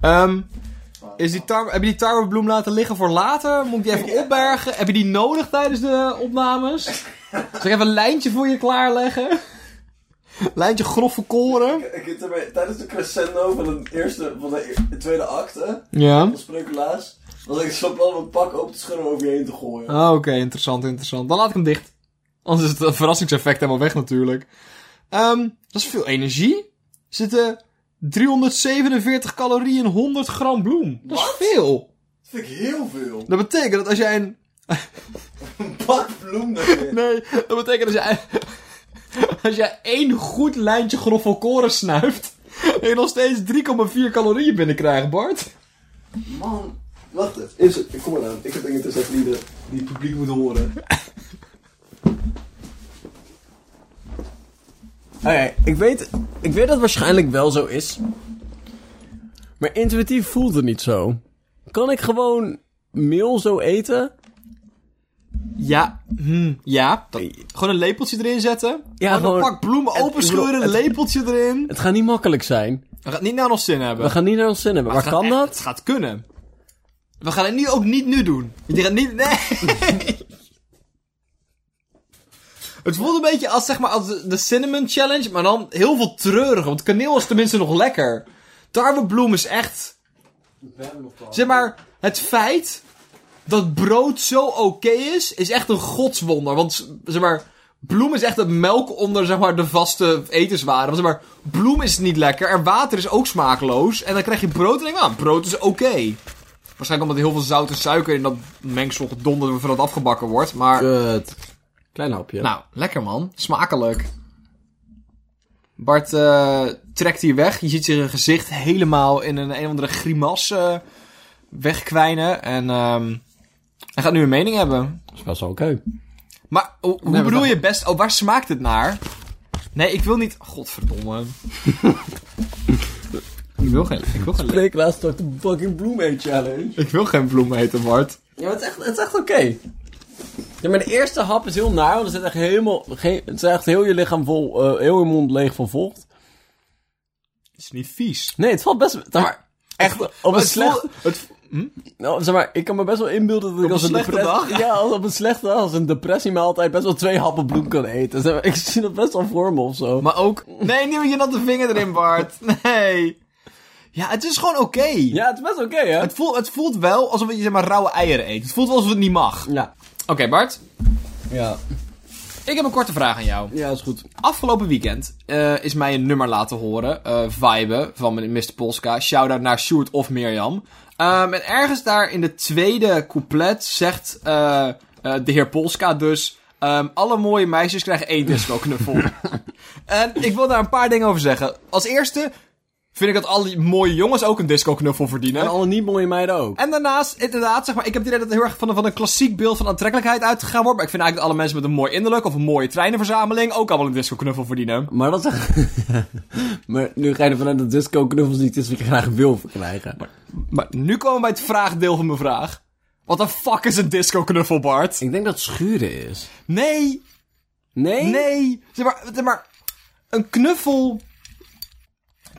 Ehm, is die tar- heb je die tarwebloem laten liggen voor later? Moet ik die even opbergen? Heb je die nodig tijdens de opnames? Zal ik even een lijntje voor je klaarleggen? Lijntje grof verkoren? Ik- ik- terwijl- Tijdens de crescendo van, een eerste, van de e- tweede acte, Ja. van Spreukelaars, was ik zo plan om een pak open te schudden en over je heen te gooien. Ah, Oké, interessant, interessant. Dan laat ik hem dicht. Anders is het verrassingseffect helemaal weg natuurlijk. Ehm, dat is veel energie. Er zitten 347 calorieën in 100 gram bloem. Dat Wat? is veel. Dat vind ik heel veel. Dat betekent dat als jij een... Een pak bloem daarin. Nee, dat betekent dat jij... Als jij één goed lijntje groffelkoren snuift... en je nog steeds 3,4 calorieën binnenkrijgt, Bart. Man, wacht even. Is het, ik kom eraan. Ik heb dingen te zeggen die, de, die het publiek moet horen. Oké, ik, weet, ik weet dat het waarschijnlijk wel zo is. Maar intuïtief voelt het niet zo. Kan ik gewoon meel zo eten? Ja, hm, ja. Dat- gewoon een lepeltje erin zetten. Gewoon Ja, een gewoon- pak bloemen het- openscheuren, een lepeltje erin. Het gaat niet makkelijk zijn. We gaan het niet naar ons zin hebben. We gaan niet naar ons zin hebben. Maar, Het gaat kan echt- dat? Het gaat kunnen. We gaan het nu ook niet nu doen. Je gaat niet... Nee! Het voelt een beetje als, zeg maar, als de- de Cinnamon Challenge, maar dan heel veel treuriger. Want kaneel is tenminste nog lekker. Tarwebloem is echt... Zeg maar, het feit dat brood zo oké is, is echt een godswonder. Want, zeg maar, bloem is echt het melk onder, zeg maar, de vaste etenswaren. Want, zeg maar, bloem is niet lekker en water is ook smakeloos. En dan krijg je brood en denk je, ah, brood is oké. Waarschijnlijk omdat er heel veel zout en suiker in dat mengsel gedonderd wordt voordat het afgebakken wordt. Maar, Kut. Klein hapje. nou, lekker man. Smakelijk. Bart eh, trekt hier weg. Je ziet zijn gezicht helemaal in een, een of andere grimas eh, wegkwijnen. En ehm, hij gaat nu een mening hebben. dat is best wel oké. Maar ho- hoe maar bedoel dat- je best... Oh, waar smaakt het naar? Nee, ik wil niet... Godverdomme. ik wil geen... Ik wil geen... Bleek laatst ook de fucking bloem eet challenge. Ik wil geen bloem eten, Bart. Ja, maar het is echt, het is echt oké. Ja, maar de eerste hap is heel naar, want er zit echt helemaal geen, het is echt heel je lichaam vol, eh, heel je mond leeg van vocht. Het is niet vies. Nee, het valt best, zeg maar, echt op een Het voelt- slecht, het vo- nou, zeg maar, ik kan me best wel inbeelden dat ik een als een slechte depressie, dag? ja, als op een slechte dag, als een depressiemaaltijd best wel twee happen bloem kan eten. Zeg maar, ik zie dat best wel voor me of zo. Maar ook... Nee, niet met je natte vinger erin, Bart. Nee. Ja, het is gewoon oké. ja, het is best oké, hè? Het, voelt, het voelt wel alsof je zeg maar rauwe eieren eet. Het voelt wel alsof het niet mag. Oké, Ja, Bart. ja, Ik heb een korte vraag aan jou. ja, is goed. Afgelopen weekend eh, is mij een nummer laten horen. eh vibe van meneer Mr. Polska. Shout-out naar Sjoerd of Mirjam. Ehm, en ergens daar in de tweede couplet zegt eh, eh, de heer Polska dus... ehm, alle mooie meisjes krijgen één disco-knuffel. en ik wil daar een paar dingen over zeggen. Als eerste vind ik dat alle mooie jongens ook een disco-knuffel verdienen. En alle niet mooie meiden ook. En daarnaast, inderdaad, zeg maar, ik heb het idee dat het heel erg van een, van een klassiek beeld van aantrekkelijkheid uitgegaan wordt. Maar ik vind eigenlijk dat alle mensen met een mooi innerlijk of een mooie treinenverzameling ook allemaal een disco-knuffel verdienen. Maar dat is Maar nu ga je ervan uit dat disco knuffels niet is wat je graag wil verkrijgen. Maar nu komen we bij het vraagdeel van mijn vraag. Wat de fuck is een disco-knuffel, Bart? Ik denk dat het schuren is. Nee, Nee? nee. Zeg maar, zeg maar, een knuffel...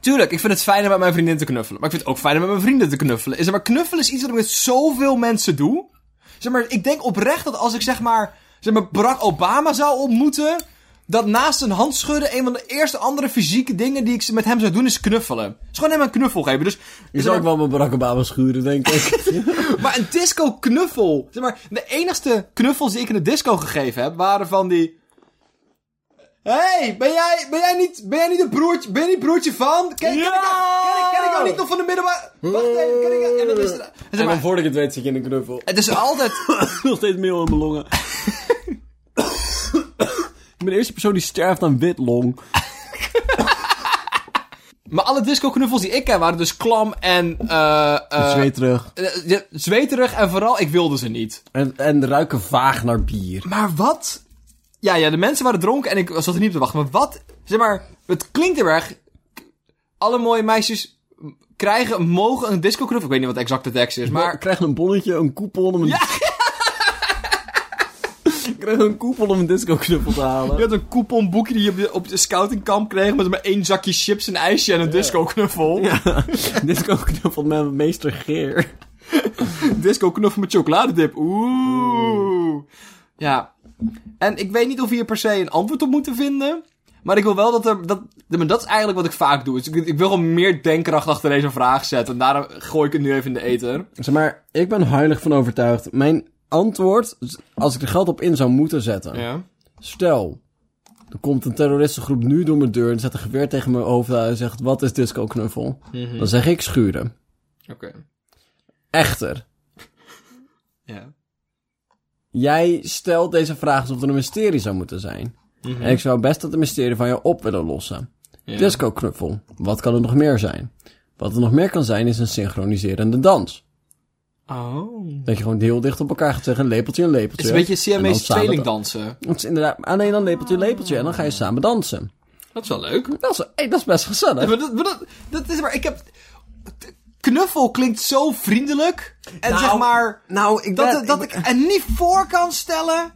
Tuurlijk, ik vind het fijn om met mijn vriendin te knuffelen. Maar ik vind het ook fijn om met mijn vrienden te knuffelen. Zeg maar, knuffelen is iets wat ik met zoveel mensen doe. Zeg maar, ik denk oprecht dat als ik zeg maar, zeg maar Barack Obama zou ontmoeten... dat naast een handschudden een van de eerste andere fysieke dingen die ik met hem zou doen is knuffelen. Dus gewoon hem een knuffel geven. Dus, Je zeg zou maar- ook wel met Barack Obama schuren, denk ik. maar een disco knuffel. Zeg maar, de enigste knuffels die ik in de disco gegeven heb, waren van die. Hé, hey, ben, jij, ben, jij niet- ben jij niet een broertje, ben je niet broertje van? Ken, ken, ik, jou- ken, ik- ken ik jou niet nog van de middelbare... Wacht even, ken ik jou- En dat is... en zeg en dan maar, voordat ik het weet zit je in een knuffel. het is altijd... Nog steeds meel in mijn longen. ik ben de eerste persoon die sterft aan witlong. Maar alle disco knuffels die ik ken waren dus klam en... eh eh, Zweet terug. eh, ja, zweterig en vooral, ik wilde ze niet. En, en ruiken vaag naar bier. Maar wat? Ja, ja, de mensen waren dronken en ik zat er niet op te wachten. Maar wat? Zeg maar, het klinkt heel erg. Alle mooie meisjes krijgen, mogen een disco knuffel. Ik weet niet wat de exacte tekst is, Maar maar. krijg een bonnetje, een coupon om een... Ja. Ik kreeg een koepel om een disco-knuppel te halen. Je had een couponboekje die je op je- op je scoutingkamp kreeg met maar één zakje chips, een ijsje en een disco-knuffel. Ja, disco-knuppel met meester Geer. Disco-knuffel met chocoladedip. Oeh. Ja. En ik weet niet of we hier per se een antwoord op moeten vinden. Maar ik wil wel dat er... Dat, maar dat is eigenlijk wat ik vaak doe. Dus ik, ik wil gewoon meer denkkracht achter deze vraag zetten. En daarom gooi ik het nu even in de ether. Zeg maar, ik ben heilig van overtuigd. Mijn antwoord, als ik er geld op in zou moeten zetten. Ja. Stel, er komt een terroristengroep nu door mijn deur en zet een geweer tegen mijn hoofd aan en zegt, wat is disco-knuffel? Dan zeg ik schuren. Oké. Echter, Ja. jij stelt deze vraag alsof er een mysterie zou moeten zijn. En ik zou best dat het mysterie van jou op willen lossen. Dus- Disco-knuffel, wat kan er nog meer zijn? Wat er nog meer kan zijn is een synchroniserende dans. Oh. Dat je gewoon heel dicht op elkaar gaat zeggen, lepeltje en lepeltje. Het is een beetje Siamese tweeling tweeling dansen. Het is inderdaad, alleen dan lepeltje, lepeltje. En dan ga je samen dansen. Dat is wel leuk. Dat is, hey, dat is best gezellig. Maar dat, maar dat, dat is maar... Ik heb... Knuffel klinkt zo vriendelijk. En zeg maar... Nou, ik Dat, dat ik er niet voor kan stellen.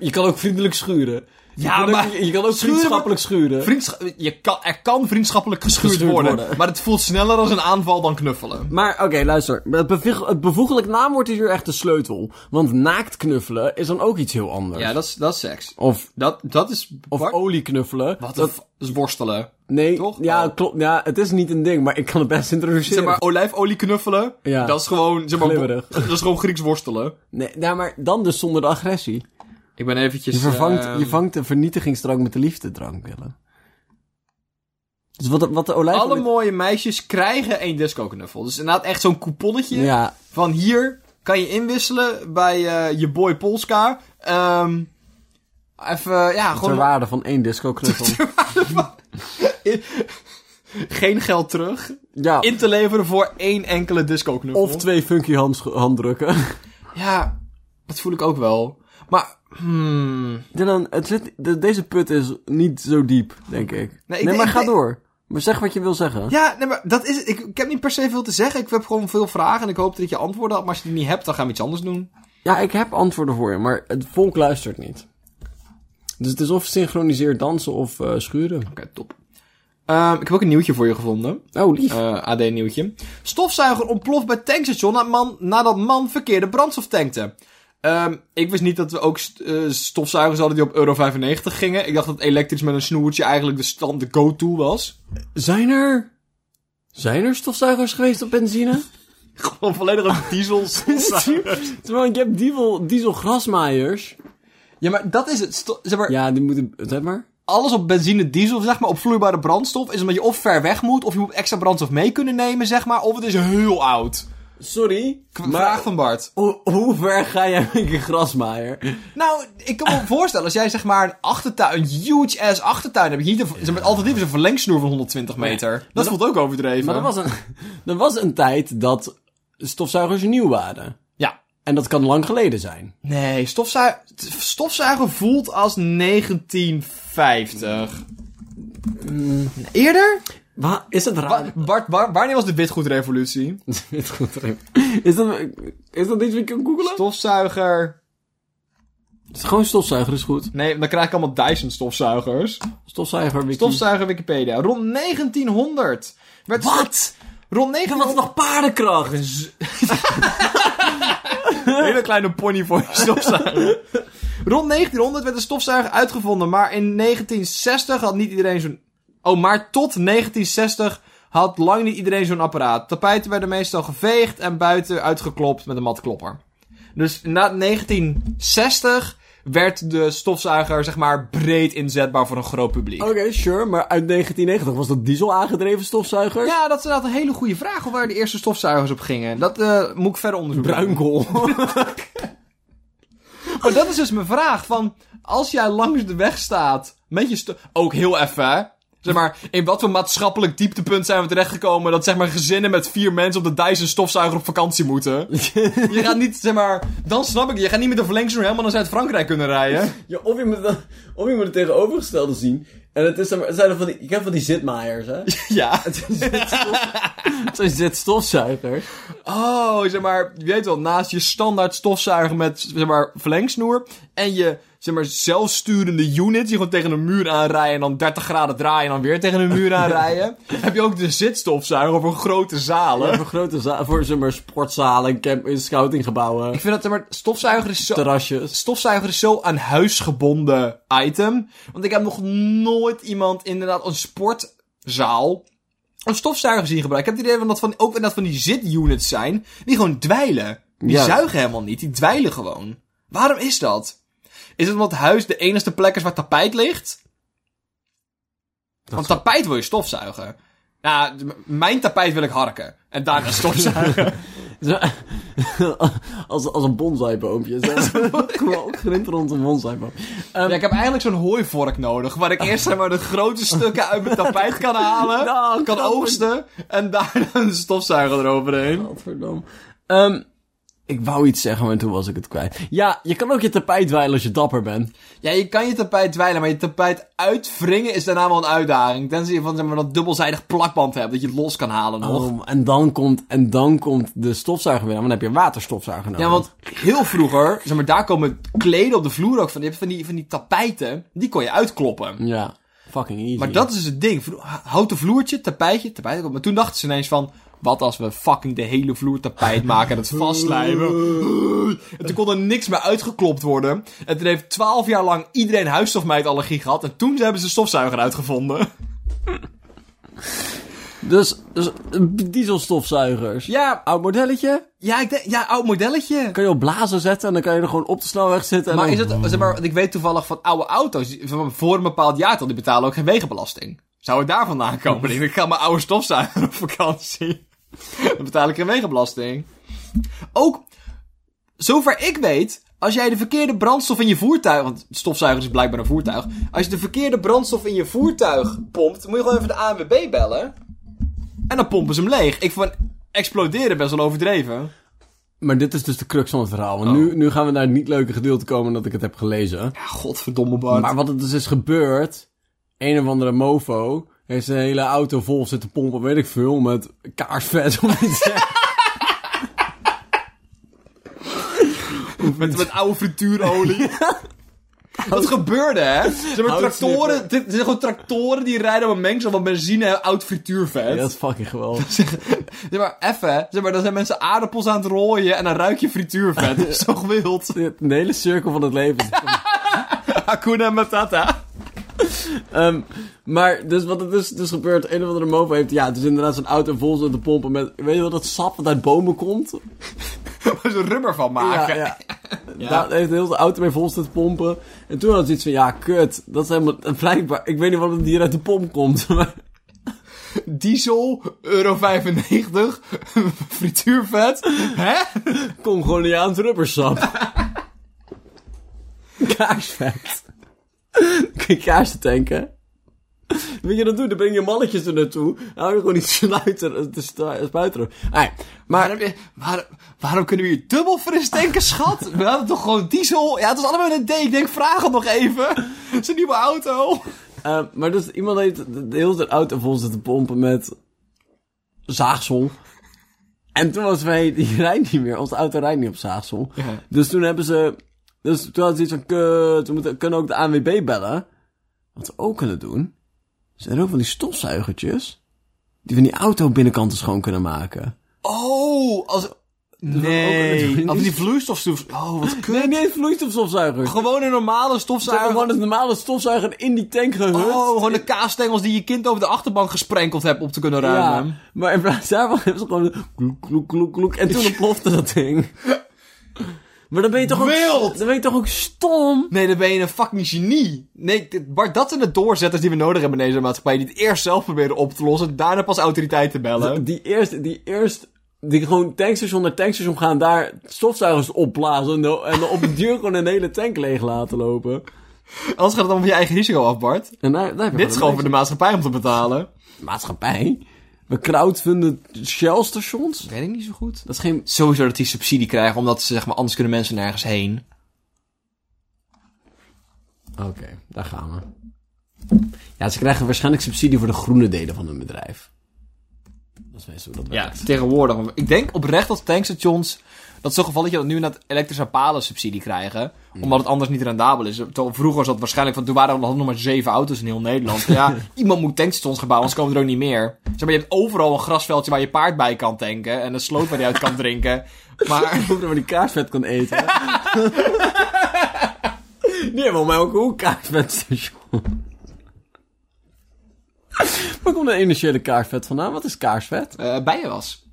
je kan ook vriendelijk schuren. Ja, je kan maar- Ook, je kan ook schuren- vriendschappelijk schuren. Vriendsch- je kan, er kan vriendschappelijk geschuurd, Geschuurd worden, worden. Maar het voelt sneller als een aanval dan knuffelen. Maar oké, luister. Het, bevig- het bevoeglijk naamwoord is hier echt de sleutel. Want naakt knuffelen is dan ook iets heel anders. dat is, dat is seks. Of, Dat, dat is... of olie knuffelen. Wat dat, dat is worstelen. Nee, toch? ja, Oh. klopt. Ja, het is niet een ding, maar ik kan het best introduceren. Zeg maar, olijfolie knuffelen. Ja. Dat is gewoon... Zeg maar, Glibberig. Dat is gewoon Grieks worstelen. Nee, ja, maar dan dus zonder de agressie. Ik ben eventjes... Je vervangt, ehm, je vangt de vernietigingsdrank met de liefdedrank, Willem. Dus wat, de- wat de olijf... Alle mooie meisjes krijgen één disco-knuffel. Dus inderdaad echt zo'n couponnetje. Ja, Van hier kan je inwisselen bij eh, je boy Polska. Ehm even, ja, ter gewoon... waarde van één disco-knuffel. Geen geld terug. ja, In te leveren voor één enkele disco-knuffel. Ah. of twee funky hands- handdrukken. Ja, dat voel ik ook wel. Maar, hmm... Dylan, het zit, de- deze put is niet zo diep, denk ik. Nee, ik denk- maar ik ga denk- door. Maar zeg wat je wil zeggen. Ja, nee, maar dat is het. Ik, ik heb niet per se veel te zeggen. Ik heb gewoon veel vragen en ik hoop dat ik je antwoorden had. Maar als je die niet hebt, dan gaan we iets anders doen. Ja, ik heb antwoorden voor je, maar het volk luistert niet. Dus het is of synchroniseerd dansen of eh, schuren. Oké, top. Ehm, ik heb ook een nieuwtje voor je gevonden. Oh, lief. Eh, AD-nieuwtje. Stofzuiger ontploft bij tankstation na man, nadat man verkeerde brandstof tankte. Ehm, ik wist niet dat we ook st- eh, stofzuigers hadden die op euro 95 gingen. Ik dacht dat elektrisch met een snoertje eigenlijk de stand de go-to was. Zijn er... Zijn er stofzuigers geweest op benzine? Gewoon volledig een diesel stofzuiger. Terwijl ik heb diesel, diesel grasmaaiers. Ja, maar dat is het. Sto- Zeg maar, Ja, die moeten... Zeg maar. alles op benzine, diesel, zeg maar, op vloeibare brandstof... is omdat je of ver weg moet, of je moet extra brandstof mee kunnen nemen, zeg maar... of het is heel oud. Sorry, K- maar Vraag van Bart. hoe, hoe ver ga jij met je grasmaaier? Nou, ik kan me voorstellen, als jij zeg maar een achtertuin, een huge ass achtertuin hebt, je niet een, zeg maar, alternatief is een verlengsnoer van 120 meter. Dat voelt ook overdreven. Maar er was, een, er was een tijd dat stofzuigers nieuw waren. Ja. En dat kan lang geleden zijn. Nee, stofzuigen, stofzuigen voelt als 1950. Eerder? Wa is het Mm. Wa- raar? Bart, wa- wanneer was de witgoedrevolutie? Dit goed erin. is, dat, is dat iets wat je kan googlen? Stofzuiger. Gewoon stofzuiger is goed. Nee, dan krijg ik allemaal Dyson stofzuigers. Stofzuiger, wiki. Stofzuiger Wikipedia. Rond 1900 werd Wat? rond Er was 1900 nog paardenkracht. Een hele kleine pony voor je stofzuiger. Rond 1900 werd de stofzuiger uitgevonden, maar in 1960 had niet iedereen zo'n... Oh, maar tot 1960 had lang niet iedereen zo'n apparaat. Tapijten werden meestal geveegd en buiten uitgeklopt met een matklopper. Dus na 1960 werd de stofzuiger, zeg maar, breed inzetbaar voor een groot publiek. Oké, sure, maar uit 1990 was dat diesel aangedreven stofzuiger? Ja, dat is inderdaad een hele goede vraag, of waar de eerste stofzuigers op gingen. Dat eh, moet ik verder onderzoeken. Bruinkool. Maar dat is dus mijn vraag. Van, als jij langs de weg staat met je... sto- Ook heel even, hè? Zeg maar, in wat voor maatschappelijk dieptepunt zijn we terechtgekomen... dat zeg maar gezinnen met vier mensen op de Dyson stofzuiger op vakantie moeten. je gaat niet, zeg maar... Dan snap ik het. Je gaat niet met de verlengsnoer helemaal naar Zuid-Frankrijk kunnen rijden. Ja, of, je moet, het- of je moet het tegenovergestelde zien. En het is dan, het zijn dan van die, je kent van die zitmaaiers, hè? ja. Zo'n zitstofzuiger. Oh, zeg maar, je weet wel, naast je standaard stofzuiger met, zeg maar, verlengsnoer. En je, zeg maar, zelfsturende unit die gewoon tegen een muur aanrijden en dan 30 graden draaien en dan weer tegen een muur aanrijden. heb je ook de zitstofzuiger voor grote zalen. Voor grote za- voor zeg maar, sportzalen, camp, scoutinggebouwen, Ik vind dat, zeg maar, stofzuiger is zo... terrasjes. Stofzuiger is zo aan huis gebonden item. Want ik heb nog nooit iemand inderdaad een sportzaal een stofzuiger zien gebruiken. Ik heb het idee dat van, ook inderdaad van die zitunits zijn die gewoon dweilen. Die Ja. zuigen helemaal niet, die dweilen gewoon. Waarom is dat? Is het omdat huis de enige plek is waar tapijt ligt? Want tapijt wil je stofzuigen. Nou, m- mijn tapijt wil ik harken. En daarna stofzuigen. als, als een bonsaiboompje. Kom maar opgrind rond een bonsaiboompje. ja, ik heb eigenlijk zo'n hooivork nodig. Waar ik eerst zeg maar, de grote stukken uit mijn tapijt kan halen. Nou, kan knapper. oogsten. En daarna een stofzuiger eroverheen. Godverdomme. Ehm, ik wou iets zeggen, maar toen was ik het kwijt. Ja, je kan ook je tapijt wijlen als je dapper bent. Ja, je kan je tapijt dweilen. Maar je tapijt uitwringen is daarna wel een uitdaging. Tenzij je van zeg maar, dat dubbelzijdig plakband hebt. Dat je het los kan halen nog. Oh, en, dan komt, en dan komt de stofzuiger weer aan, want dan heb je een waterstofzuiger nodig. Ja, want heel vroeger, zeg maar, daar komen kleden op de vloer ook van. Je hebt van die, van die tapijten, die kon je uitkloppen. Ja, fucking easy. Maar dat is dus het ding. Vlo- Houten vloertje, tapijtje, tapijt. Maar toen dachten ze ineens van... Wat als we fucking de hele vloer tapijt maken en het vastlijmen? En toen kon er niks meer uitgeklopt worden. En toen heeft twaalf jaar lang iedereen huisstofmijtallergie gehad. En toen hebben ze de stofzuiger uitgevonden. Dus, dus eh, dieselstofzuigers. Ja, Oud modelletje, ja, ik denk, ja oud modelletje. kan je op blazen zetten en dan kan je er gewoon op de snelweg zitten. En Maar is dan- het, zeg maar, want ik weet toevallig van oude auto's die- van voor een bepaald jaartal, die betalen ook geen wegenbelasting. Zou het daar vandaan komen? Ik ga mijn oude stofzuiger op vakantie. Dan betaal ik geen wegenbelasting. Ook, zover ik weet, als jij de verkeerde brandstof in je voertuig, want stofzuiger is blijkbaar een voertuig. Als je de verkeerde brandstof in je voertuig pompt, moet je gewoon even de ANWB bellen. En dan pompen ze hem leeg. Ik vond exploderen best wel overdreven. Maar dit is dus de crux van het verhaal. Want nu, nu gaan we naar het niet leuke gedeelte komen dat ik het heb gelezen. Ja, godverdomme Bart. Maar wat er dus is gebeurd, een of andere mofo heeft zijn hele auto vol zitten pompen, weet ik veel, met kaarsvet of iets. Met, met oude frituurolie. Dat gebeurde, hè? Zeg maar, Houtsnippen. tractoren, dit, dit zijn gewoon tractoren die rijden op een mengsel van benzine en oud frituurvet. dat is fucking geweldig. Zeg maar, effen, hè? zeg maar, dan zijn mensen aardappels aan het rooien en dan ruik je frituurvet. Dat is toch wild? Dit- De hele cirkel van het leven. Hakuna Matata. Ehm, maar dus wat er dus, dus gebeurt, een of andere mofo heeft, ja, dus inderdaad zijn auto vol zitten pompen met, weet je wel, dat sap dat uit bomen komt? Waar ze rubber van maken. Ja, ja. Daar heeft de hele auto mee vol zitten pompen. En toen had ze iets van, ja, kut. Dat is helemaal, en blijkbaar, ik weet niet wat het hier uit de pomp komt. Maar Diesel, euro 95, frituurvet. Hè? Congoliaans rubbersap. Kaarsvet. Kun je kaarsen tanken? Weet je dat doen? Dan breng je malletjes er naartoe. Dan hou je gewoon die snuiter eh, te sta- spuiten erop. Ai, maar Waarom, waarom, waarom kunnen we hier dubbel fris tanken, schat? We hadden toch gewoon diesel? Ja, het was allemaal in een D. Ik denk, vraag het nog even. Het is een nieuwe auto. Eh, maar dus iemand heeft de de hele tijd auto vol zitten pompen met zaagsel. En toen was wij, die rijdt niet meer, onze auto rijdt niet op zaagsel. Ja. Dus toen hebben ze, dus toen hadden ze iets van, kut, we moeten, kunnen ook de ANWB bellen. Wat ze ook kunnen doen, zijn ook van die stofzuigertjes, die van die auto binnenkant schoon kunnen maken. Oh, als... ook- Nee. Als die vloeistofstof... Oh, wat kut. Nee, nee, vloeistofstofzuiger. Gewoon een normale Ze hebben stofzuiger. gewoon een normale stofzuiger in die tank gehut. Oh, gewoon de kaasstengels die je kind over de achterbank gesprenkeld hebt op te kunnen ruimen. Ja, maar in plaats daarvan hebben ze gewoon een kloek, kloek, kloek, kloek. En toen ontplofte dat ding. Maar dan ben je toch ook... Wild! Dan ben je toch ook stom? Nee, dan ben je een fucking genie. Nee, dit- Bart, dat zijn de doorzetters die we nodig hebben in deze maatschappij. Die het eerst zelf proberen op te lossen, daarna pas autoriteiten bellen. Die eerst... Die eerst die gewoon tankstation naar tankstation gaan, daar stofzuigers opblazen en dan- en dan op de duur gewoon een hele tank leeg laten lopen. Anders gaat het dan op je eigen risico af, Bart. En daar, daar heb je Dit is gewoon voor de maatschappij om te betalen. de maatschappij. We crowdfunden Shell-stations. Weet ik niet zo goed. Dat is geen... Sowieso dat die subsidie krijgen, omdat ze, zeg maar, anders kunnen mensen nergens heen. Oké, daar gaan we. Ja, ze krijgen waarschijnlijk subsidie voor de groene delen van hun bedrijf. Dat is meestal hoe dat Ja, werkt. tegenwoordig. Ik denk oprecht dat tankstations... Dat is zo'n gevalletje dat nu naar elektrische palen subsidie krijgen. Omdat het anders niet rendabel is. Terwijl vroeger was dat waarschijnlijk... Want toen waren er nog nog maar zeven auto's in heel Nederland. Ja, iemand moet tankstations gaan bouwen, anders komen er ook niet meer. Zeg maar, je hebt overal een grasveldje waar je paard bij kan tanken. En een sloot waar je uit kan drinken. Maar... Of maar die kaarsvet kan eten. nee, maar mij ook hoe kaarsvetstation. Waar komt de initiële kaarsvet vandaan? Wat is kaarsvet? eh bijen was.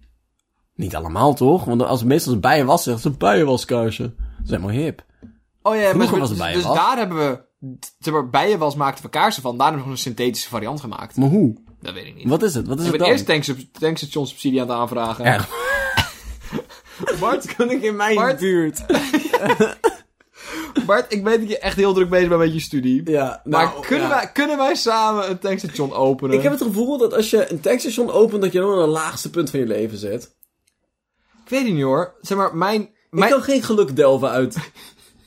Niet allemaal toch? Want als het meestal als bijenwas zegt, ze bijenwaskaarsen. Dat is helemaal hip. Oh ja, maar Vroeger was het dus, bijenwas. dus daar hebben we... Zeg maar, bijenwas maakten we kaarsen van. Daarna hebben we een synthetische variant gemaakt. Maar hoe? Dat weet ik niet. Dus Wat is het? Wat is Ik het ben dan? eerst tanksta- tankstation-subsidie aan het aanvragen. Erg. Bart, kan ik in mijn Bart? buurt? Bart, ik weet dat je echt heel druk bezig bent met je studie. Ja, maar nou, kunnen, ja. wij, kunnen wij samen een tankstation openen? Ik heb het gevoel dat als je een tankstation opent, dat je dan aan het laagste punt van je leven zit. Ik weet het niet hoor. Zeg maar, mijn, mijn, Ik kan geen geluk delven uit,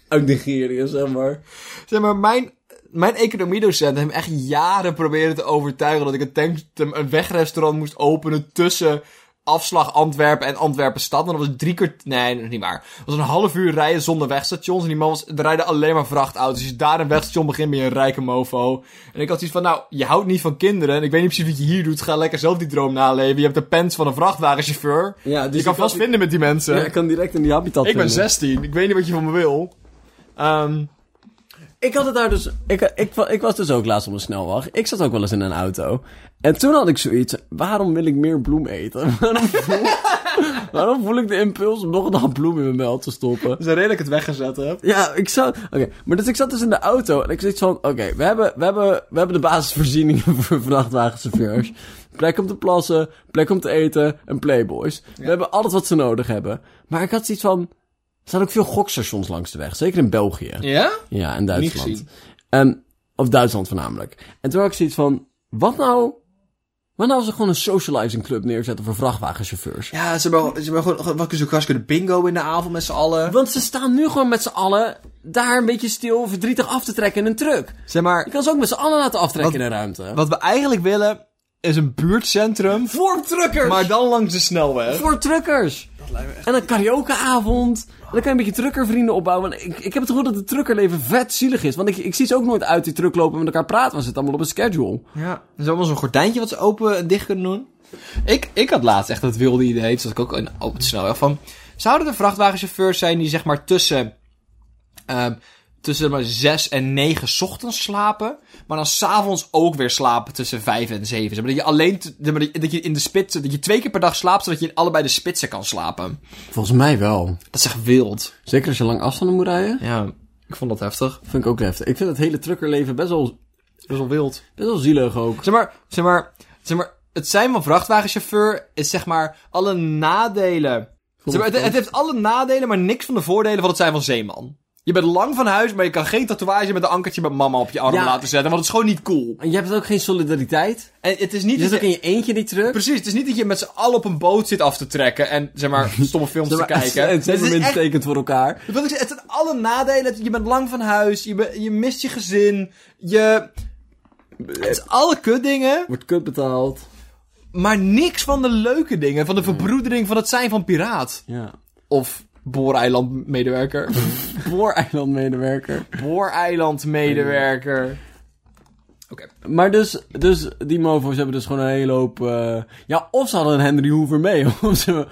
uit Nigeria, zeg maar. zeg maar, mijn, mijn economiedocent heeft me echt jaren proberen te overtuigen dat ik een, tank, een wegrestaurant moest openen tussen afslag Antwerpen en Antwerpen-stad. En dat was drie keer... Nee, dat is niet waar. Dat was een half uur rijden zonder wegstations. En die man was, er rijden alleen maar vrachtauto's. Als je daar een wegstation begint, ben je een rijke mofo. En ik had zoiets van, nou, je houdt niet van kinderen. En ik weet niet precies wat je hier doet. Ga lekker zelf die droom naleven. Je hebt de pens van een vrachtwagenchauffeur. Ja, dus je kan ik- vast vinden met die mensen. Ja, ik kan direct in die habitat ik ben vinden. 16. Ik weet niet wat je van me wil. Ehm Ik had het daar dus... Ik, ik, wa- ik was dus ook laatst op een snelweg. Ik zat ook wel eens in een auto. En toen had ik zoiets... Waarom wil ik meer bloem eten? Waarom voel, waarom voel ik de impuls om nog een half bloem in mijn mel te stoppen? dus redelijk het weggezet heb. Ja, ik zat... Oké, maar dus ik zat dus in de auto en ik zit van... Oké, we, hebben, we, hebben, we hebben de basisvoorzieningen voor vrachtwagenchauffeurs. Plek om te plassen, plek om te eten en playboys. We hebben alles wat ze nodig hebben. Maar ik had zoiets van... Er staan ook veel gokstations langs de weg, zeker in België. Ja? Ja, en Duitsland. gezien. En, of Duitsland voornamelijk. En toen had ik zoiets van, wat nou... Wat nou als we gewoon een socializing club neerzetten voor vrachtwagenchauffeurs? Ja, ze hebben, ze hebben gewoon wat kunnen ze kunnen bingo in de avond met z'n allen. Want ze staan nu gewoon met z'n allen daar een beetje stil, verdrietig af te trekken in een truck. Zeg maar, Je kan ze ook met z'n allen laten aftrekken Wat- in een ruimte. wat we eigenlijk willen is een buurtcentrum, Voor truckers! maar dan langs de snelweg. Voor truckers! En een karaokeavond. En dan kan je een beetje truckervrienden opbouwen. En Ik, ik heb het gevoel dat het truckerleven vet zielig is. Want ik, ik zie ze ook nooit uit die truck lopen en met elkaar praten. Want ze zitten allemaal op een schedule. Ja, er is allemaal zo'n gordijntje wat ze open en dicht kunnen doen. Ik, ik had laatst echt dat wilde idee, dat zat ik ook in, op de snelweg van... Zouden er vrachtwagenchauffeurs zijn die zeg maar tussen... ehm, tussen maar 6 en 9 's ochtends slapen, maar dan s'avonds ook weer slapen tussen 5 en 7. Zeg maar, dat je alleen te- zeg maar, dat je in de spits, dat je twee keer per dag slaapt, zodat je in allebei de spitsen kan slapen. Volgens mij wel. Dat is echt wild. Zeker als je lang afstanden moet rijden. Ja, ik vond dat heftig. Vind ik ook heftig. Ik vind het hele truckerleven best wel, Dat is wel wild. best wel zielig ook. Zeg maar, zeg maar, zeg maar, het zijn van vrachtwagenchauffeur is zeg maar alle nadelen. Zeg maar, het, het heeft alle nadelen, maar niks van de voordelen van het zijn van zeeman. Je bent lang van huis, maar je kan geen tatoeage met een ankertje met mama op je arm Ja. laten zetten, want het is gewoon niet cool. En je hebt ook geen solidariteit. En het is niet Je dat zit ook je, in je eentje die truck. precies, het is niet dat je met z'n allen op een boot zit af te trekken en zeg maar stomme films te kijken. Het Het zijn is momenten echt tekent voor elkaar. Dat wil ik zeggen, het zijn alle nadelen. Het- Je bent lang van huis, je, be- je mist je gezin, je... Eh. Het is alle kutdingen, Wordt kut betaald. maar niks van de leuke dingen. Van de verbroedering van het zijn van piraat. Ja. Of booreilandmedewerker. Booreilandmedewerker. booreilandmedewerker. Oké. Maar dus, dus die mofo's hebben dus gewoon een hele hoop... eh, Ja, of ze hadden een Henry Hoover mee. Of ze,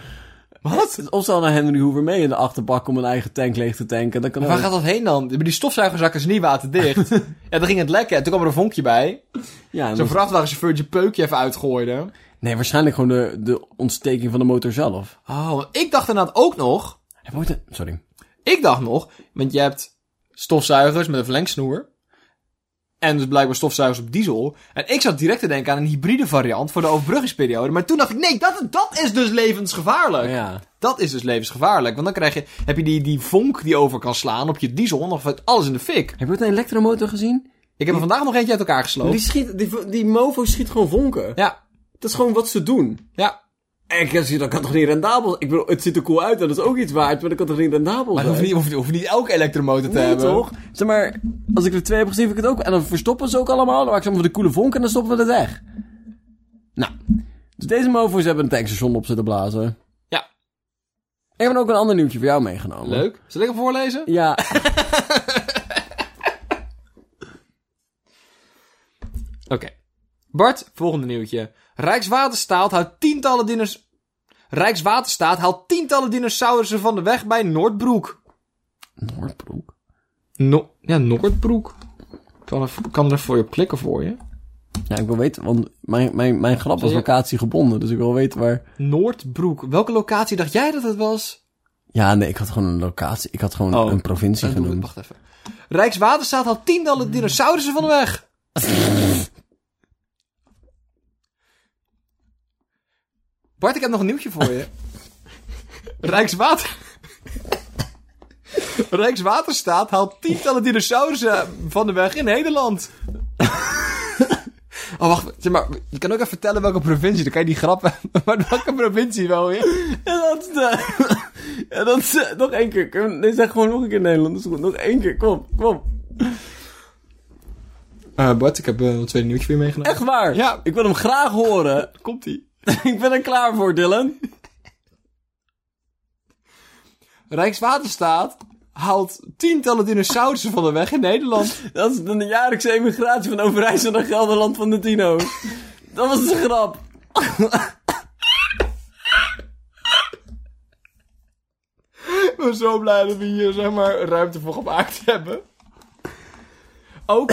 Wat? of ze hadden een Henry Hoover mee in de achterbak om een eigen tank leeg te tanken. Dat kan Waar ook. gaat dat heen dan? Die stofzuigerzak is niet waterdicht. ja, dan ging het lekken. En toen kwam er een vonkje bij. Ja, en Zo'n dan- vrachtwagenchauffeur die peukje even uitgooide. Nee, waarschijnlijk gewoon de, de ontsteking van de motor zelf. Oh, want ik dacht inderdaad ook nog... Heb je ooit een- Sorry. Ik dacht nog, want je hebt stofzuigers met een verlengsnoer. En dus blijkbaar stofzuigers op diesel. En ik zat direct te denken aan een hybride variant voor de overbruggingsperiode. Maar toen dacht ik, nee, dat, dat is dus levensgevaarlijk. Ja. Dat is dus levensgevaarlijk. Want dan krijg je, heb je die, die vonk die over kan slaan op je diesel. En dan valt alles in de fik. Heb je ooit een elektromotor gezien? Ik heb er vandaag nog eentje uit elkaar Die, gesloopt. schiet, die, die mofo schiet gewoon vonken. Ja, Dat is gewoon wat ze doen. ja. En ik zie, dat kan toch niet rendabel zijn? Ik bedoel, het ziet er cool uit en dat is ook iets waard, maar dat kan toch niet rendabel Maar zijn? je hoeft niet, hoeft, hoeft niet elke elektromotor te Nee, hebben. toch? Zeg maar, als ik er twee heb gezien, vind ik het ook. En dan verstoppen ze ook allemaal. Dan maken ze allemaal van de coole vonk en dan stoppen we het weg. Nou, dus deze mofo's hebben een tankstation op zitten blazen. Ja, Ik heb ook een ander nieuwtje voor jou meegenomen. leuk. Zal ik hem voorlezen? Ja, Oké. Bart, volgende nieuwtje. Rijkswaterstaat houdt tientallen dino's... Rijkswaterstaat haalt tientallen dinosaurussen van de weg bij Noordbroek. Noordbroek. No ja, Noordbroek. Kan er, kan er voor je klikken voor je? Ja, ik wil weten, want mijn, mijn, mijn grap was locatie gebonden. Dus ik wil weten waar... Noordbroek. Welke locatie dacht jij dat het was? Ja, nee, ik had gewoon een locatie. Ik had gewoon Oh. een provincie Eh, genoemd. Wacht even. Rijkswaterstaat haalt tientallen dinosaurussen van de weg. Bart, ik heb nog een nieuwtje voor je. Rijkswater... Rijkswaterstaat haalt tientallen dinosaurussen van de weg in Nederland. Oh, wacht. Zeg maar, je kan ook even vertellen welke provincie. Dan kan je die grappen... Maar welke provincie wel je? En dat is de... Ja, dat is de- Nog één keer. Kom, Nee, zeg gewoon nog een keer Nederland. Dat is goed. Nog één keer. Kom, kom. Eh, Bart, ik heb een tweede nieuwtje weer meegenomen. Echt waar. Ja. Ik wil hem graag horen. Komt-ie. ik ben er klaar voor, Dylan. Rijkswaterstaat haalt tientallen dinosaurussen van de weg in Nederland. Dat is de jaarlijkse emigratie van Overijssel naar Gelderland van de dino's. Dat was de grap. Ik ben zo blij dat we hier zeg maar ruimte voor gemaakt hebben. Ook.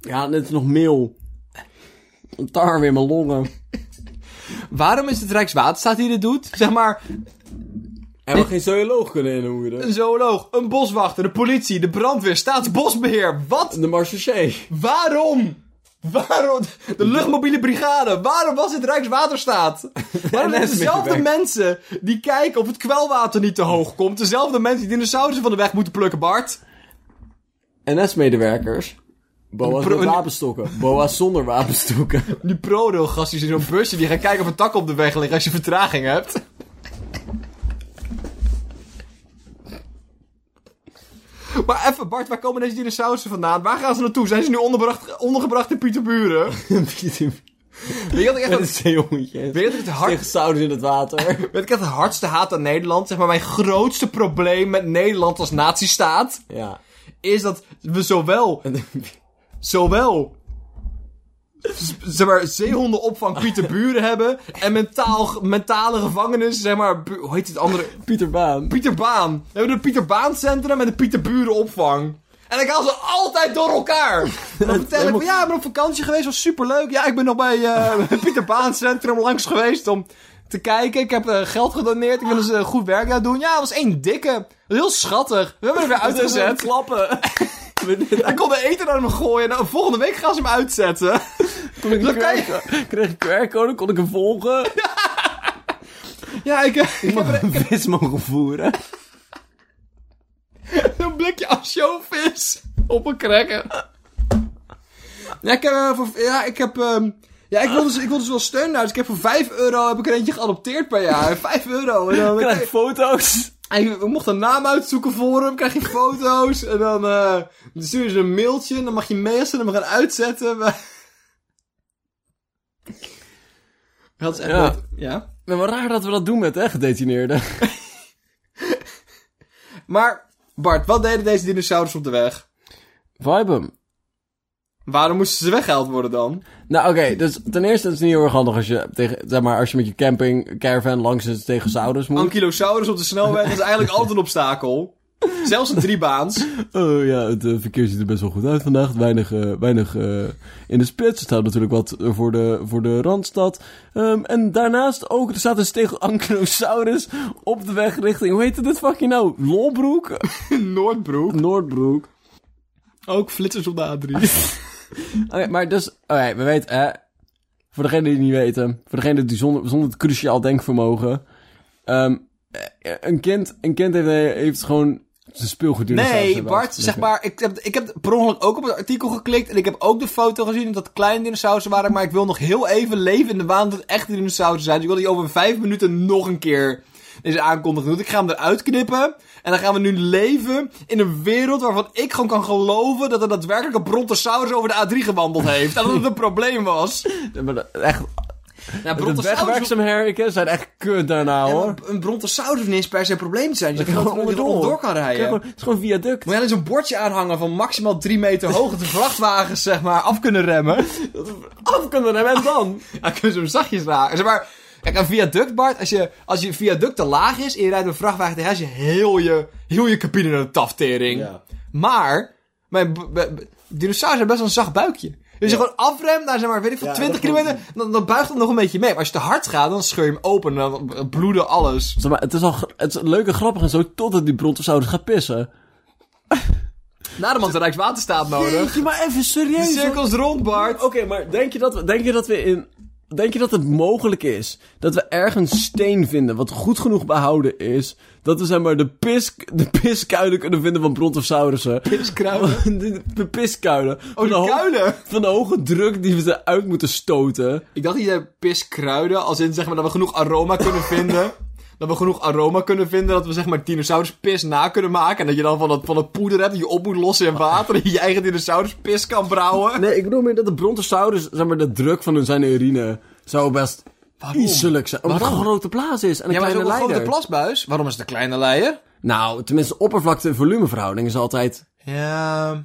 Ja, net is nog meel. Een tar weer in mijn longen. Waarom is het Rijkswaterstaat die dit doet? Zeg maar Hebben we geen zooloog kunnen inhuren? een zooloog, een boswachter, de politie, de brandweer, staatsbosbeheer. Wat? De Marseillais. Waarom? Waarom? De luchtmobiele brigade. Waarom was dit Rijkswaterstaat? Waarom zijn NS het dezelfde middenweg. mensen die kijken of het kwelwater niet te hoog komt? Dezelfde mensen die dinosaurussen van de weg moeten plukken, Bart? NS-medewerkers. Boa's Pro- met wapenstokken. Boa's zonder wapenstokken. Die ProRail-gastjes in zo'n busje die gaan kijken of een tak op de weg ligt als je vertraging hebt. Maar even, Bart, waar komen deze dinosaurussen vandaan? Waar gaan ze naartoe? Zijn ze nu onderbracht- ondergebracht in Pieterburen? Weet je wat ik echt, Met een zeehondje. weet je wat ik het, hard, Tegen zouders in het water. weet ik echt het hardste haat aan Nederland? Zeg maar, mijn grootste probleem met Nederland als nazistaat... Ja. is dat we zowel zowel z- zeg maar, zeehondenopvang Pieterburen hebben en mentaal, mentale gevangenis, zeg maar, bu- hoe heet het andere? Pieter Baan. Pieter Baan. We hebben een Pieter Baan centrum en de Pieterburen opvang. En dan gaan ze altijd door elkaar. En Dan vertel ik, van, ja, ik ben op vakantie geweest, was superleuk. Ja, ik ben nog bij eh Pieter Baan centrum langs geweest om te kijken. Ik heb eh, geld gedoneerd, ik wil eens eh, goed werk daar doen. Ja, het was één dikke. Heel schattig. We hebben hem weer Tussen uitgezet. klappen. Hij kon de eten naar hem gooien. Nou, volgende week gaan ze hem uitzetten. Toen ik Dan kan je- QR kreeg ik een QR-code, kon ik hem volgen. Ja, ik, eh, ik heb er een vis mogen voeren. een blikje ansjovis op een cracker. Ja, ik heb... eh, voor- ja, ik heb ehm, ja, ik wil, dus, ik wil dus wel steun naar. Dus ik heb voor 5 euro heb ik er eentje geadopteerd per jaar. 5 euro. En dan, Krijg foto's. en je- we mochten een naam uitzoeken voor hem. Krijg je foto's. En dan, eh dan sturen ze een mailtje. En dan mag je mee als ze hem gaan uitzetten. Maar... Dat is echt Ja. wat- Ja. Nou, wat raar dat we dat doen met hè, gedetineerden. Maar Bart, wat deden deze dinosaurus op de weg? Vibe hem. Waarom moesten ze weggehaald worden dan? Nou, oké, dus ten eerste is het niet heel erg handig als je, tegen, zeg maar, als je met je camping caravan langs een stegosaurus moet. Ankylosaurus op de snelweg is eigenlijk altijd een obstakel. Zelfs een driebaans. Oh ja, het eh, verkeer ziet er best wel goed uit vandaag. Weinig, eh, weinig eh, in de spits. Er staat natuurlijk wat eh, voor de, voor de Randstad. Ehm, en daarnaast ook, er staat een steg Ankylosaurus op de weg richting, hoe heette dit fucking nou? Lolbroek? Noordbroek. Noordbroek. Ook flitsers op de A3. Oké, maar dus, oké, we weten, hè. Voor degenen die het niet weten, voor degenen die zonder, zonder het cruciaal denkvermogen. ehm, eh, een, kind, een kind heeft, heeft gewoon de speelgoed Nee, Bart, zeg maar, ik heb, ik heb per ongeluk ook op het artikel geklikt. En ik heb ook de foto gezien dat het kleine dinosaurussen waren. Maar ik wil nog heel even leven in de waan dat het echte dinosaurussen zijn. Dus ik wil die over vijf minuten nog een keer deze aankondiging doen. Ik ga hem eruit knippen. En dan gaan we nu leven in een wereld waarvan ik gewoon kan geloven dat er daadwerkelijk een brontosaurus over de A3 gewandeld heeft. En dat het een probleem was. Ja, maar dat- echt, Ja, de wegwerkzaamheden zijn echt kut daarna, Ja, maar Oh, hoor. Een brontosaurus hoeft niet eens per se een probleem te zijn. Je kan kan gewoon gewoon door, door. door kan Kijk, rijden. gewoon- Het is gewoon viaduct. Moet je alleen zo'n bordje aanhangen van maximaal 3 meter hoog dat de vrachtwagens zeg maar af kunnen remmen. Af kunnen we en dan? Ja, Dan kunnen ze hem zachtjes raken. Zeg maar, kijk, een viaduct, Bart, als je, als je viaduct te laag is en je rijdt met een vrachtwagen tegen, is je heel je, heel je cabine naar de taftering. Ja. Maar, mijn b- b- b- dinosaurus hebben best wel een zacht buikje. Dus je gewoon afremt naar zeg maar, weet ik veel, Ja, 20 dat kan kilometer, dan, dan buigt het nog een beetje mee. Maar als je te hard gaat, dan scheur je hem open en dan bloeden alles. Zeg maar, het is al gra- het is leuk en grappig en zo totdat die brontosaurus gaat pissen. Naderhand de Rijkswaterstaat nodig. Jeetje, maar even De serieus. hoor. cirkels rond, Bart. Oké, maar denk je, dat we, denk je dat we in. Denk je dat het mogelijk is dat we ergens steen vinden wat goed genoeg behouden is? Dat we zeg maar de, pis, de piskuilen kunnen vinden van brontosaurussen. Piskruilen? De, de piskuilen. Oh, van, die de ho- kuilen. van de hoge druk die we eruit moeten stoten. Ik dacht dat je piskruiden, als in zeg maar dat we genoeg aroma kunnen vinden. Dat we genoeg aroma kunnen vinden, dat we zeg maar dinosauruspis na kunnen maken. En dat je dan van dat, van dat poeder hebt, dat je op moet lossen in water. En je eigen dinosauruspis kan brouwen. Nee, ik bedoel meer dat de brontosaurus, zeg maar, de druk van hun zijn urine zou best misselijk zijn. Omdat het Waarom? een grote plaats is en een Ja, maar kleine zo'n leider. grote plasbuis. Waarom is het een kleine leier? Nou, tenminste, de oppervlakte- en volumeverhouding is altijd... Ja...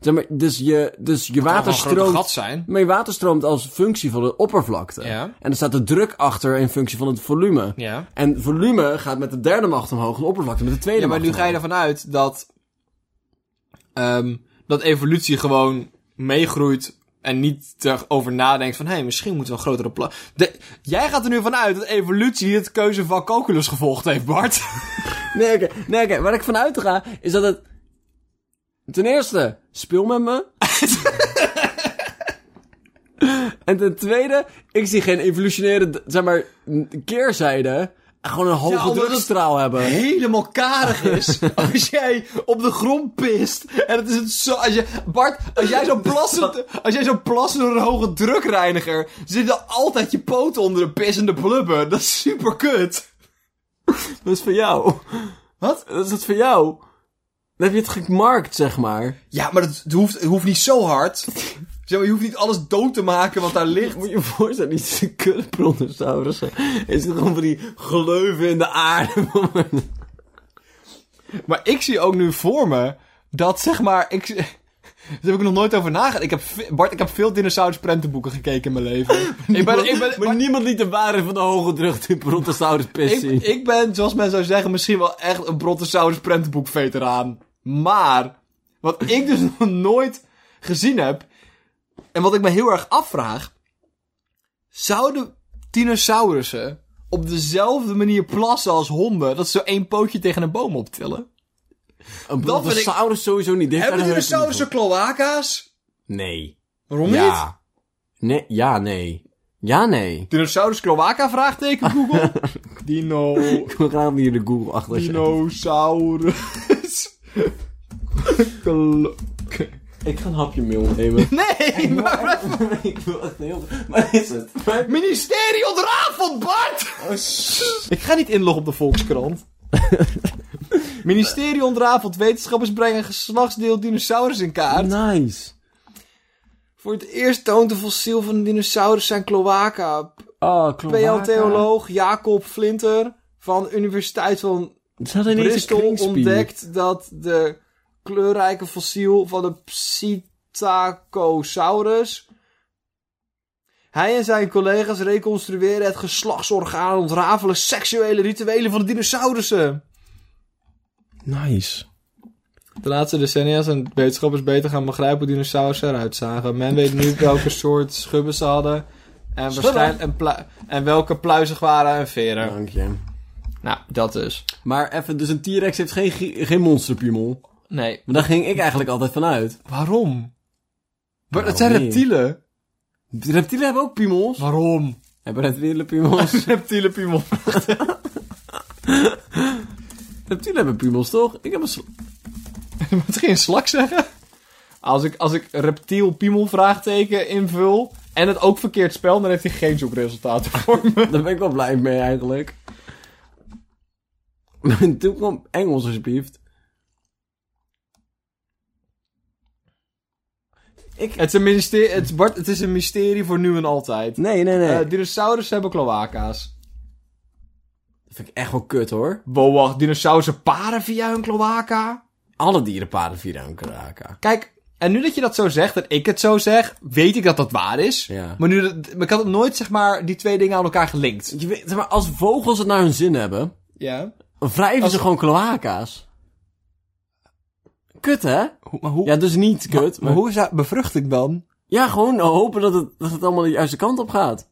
Zeg maar, dus je, dus je water Water een grote stroomt... gat zijn. Maar je water stroomt als functie van de oppervlakte. Ja. En er staat de druk achter in functie van het volume. Ja. En volume gaat met de derde macht omhoog, en de oppervlakte met de tweede Ja, maar macht nu ga je omhoog. ervan uit dat... ehm, dat evolutie gewoon meegroeit en niet erover nadenkt van... Hé, hey, misschien moeten we een grotere pla... De- Jij gaat er nu van uit dat evolutie het keuze van calculus gevolgd heeft, Bart. Nee, oké. Nee, oké. Waar ik van uit ga, is dat het... Ten eerste, speel met me. en ten tweede, ik zie geen evolutionaire, d- zeg maar, n- keerzijde. Gewoon een hoge omdat het- drukstraal hebben. helemaal karig is als jij op de grond pist. En het is het zo... Als je, Bart, als jij zo plassen, als jij zo plassen door een hoge drukreiniger... zitten altijd je poten onder de pissende blubber. Dat is super kut. Dat is voor jou. Wat? Dat is het voor jou. Dan heb je het gemarkt, zeg maar. Ja, maar dat, het hoeft, het hoeft niet zo hard. Zeg maar, je hoeft niet alles dood te maken wat daar ligt. Moet je je voorstellen, die zijn kudbrontosaurussen. Is het gewoon van die gleuven in de aarde. Maar ik zie ook nu voor me dat, zeg maar, ik... Daar heb ik nog nooit over nagedacht. Ik heb, ve- Bart, ik heb veel dinosaurus prentenboeken gekeken in mijn leven. ik ben, ik ben, maar niemand liet de waarheid van de hoge druk in brontosaurus pis zien. Ik, ik ben, zoals men zou zeggen, misschien wel echt een Brontosaurus prentenboek-veteraan. Maar, wat ik dus nog nooit gezien heb, en wat ik me heel erg afvraag, zouden dinosaurussen op dezelfde manier plassen als honden, dat ze zo één pootje tegen een boom optillen? Een Dat vind ik- brontosaurus sowieso niet. Die heeft Hebben daar een dinosaurussen heuvel kloaka's? voor. Nee. Waarom niet? Ja. Nee, ja, nee. Ja, nee. Dinosaurus kloaka vraagteken Google? Dino, Ik wil graag hier de Google achter zetten. dinosaurus. Klo- Ik ga een hapje meel nemen. Nee, maar... ik wil echt heel... Waar is het? Ministerie ontrafeld, Bart! Ik ga niet inloggen op de Volkskrant. Ministerie ontrafeld, wetenschappers brengen geslachtsdeel dinosaurus in kaart. Nice. Voor het eerst toont een fossiel van een dinosaurus zijn cloaca. Oh, klopt. PL-theoloog Jacob Flinter van Universiteit van Ze hadden ineens Bristol een ontdekt. ontdekt dat de kleurrijke fossiel van de Psittacosaurus. Hij en zijn collega's reconstrueren het geslachtsorgaan en ontrafelen seksuele rituelen van de dinosaurussen. Nice. De laatste decennia zijn wetenschappers beter gaan begrijpen hoe dinosaurussen eruit zagen. Men weet nu welke soort schubben ze hadden en, waarschijn- en, pla- en welke pluizig waren en veren. Dank je. Nou, dat dus. Maar even, dus een T-Rex heeft geen, gi- geen monsterpiemel. Nee. Maar daar ging ik eigenlijk altijd van uit. Waarom? Maar het Waarom zijn niet? reptielen. De reptielen hebben ook piemels. Waarom? Hebben reptielen piemels? Reptiele piemel. Reptielen hebben piemels, toch? Ik heb een... sl- Moet geen slak zeggen? Als ik, als ik reptiel piemel vraagteken invul en het ook verkeerd spel, dan heeft hij geen zoekresultaten voor me. Daar ben ik wel blij mee, eigenlijk. Mijn toekomst... Engels, alsjeblieft. Het is een mysterie, het, is- Bart, het is een mysterie voor nu en altijd. Nee, nee, nee. Eh dinosaurussen hebben cloaca's. dat vind ik echt wel kut, hoor. Wow, wacht, dinosaurussen paren via hun cloaca? Alle dierenpaden via een kraken. Kijk, en nu dat je dat zo zegt, dat ik het zo zeg, weet ik dat dat waar is. Ja. Maar nu, dat- maar ik had het nooit, zeg maar, die twee dingen aan elkaar gelinkt. Je weet, zeg maar, als vogels het naar hun zin hebben, Ja. dan wrijven ze gewoon kloaka's. Kut, hè? Maar hoe, Ja, dus niet kut. maar hoe is dat bevruchting dan? Ja, gewoon hopen dat het, dat het allemaal de juiste kant op gaat.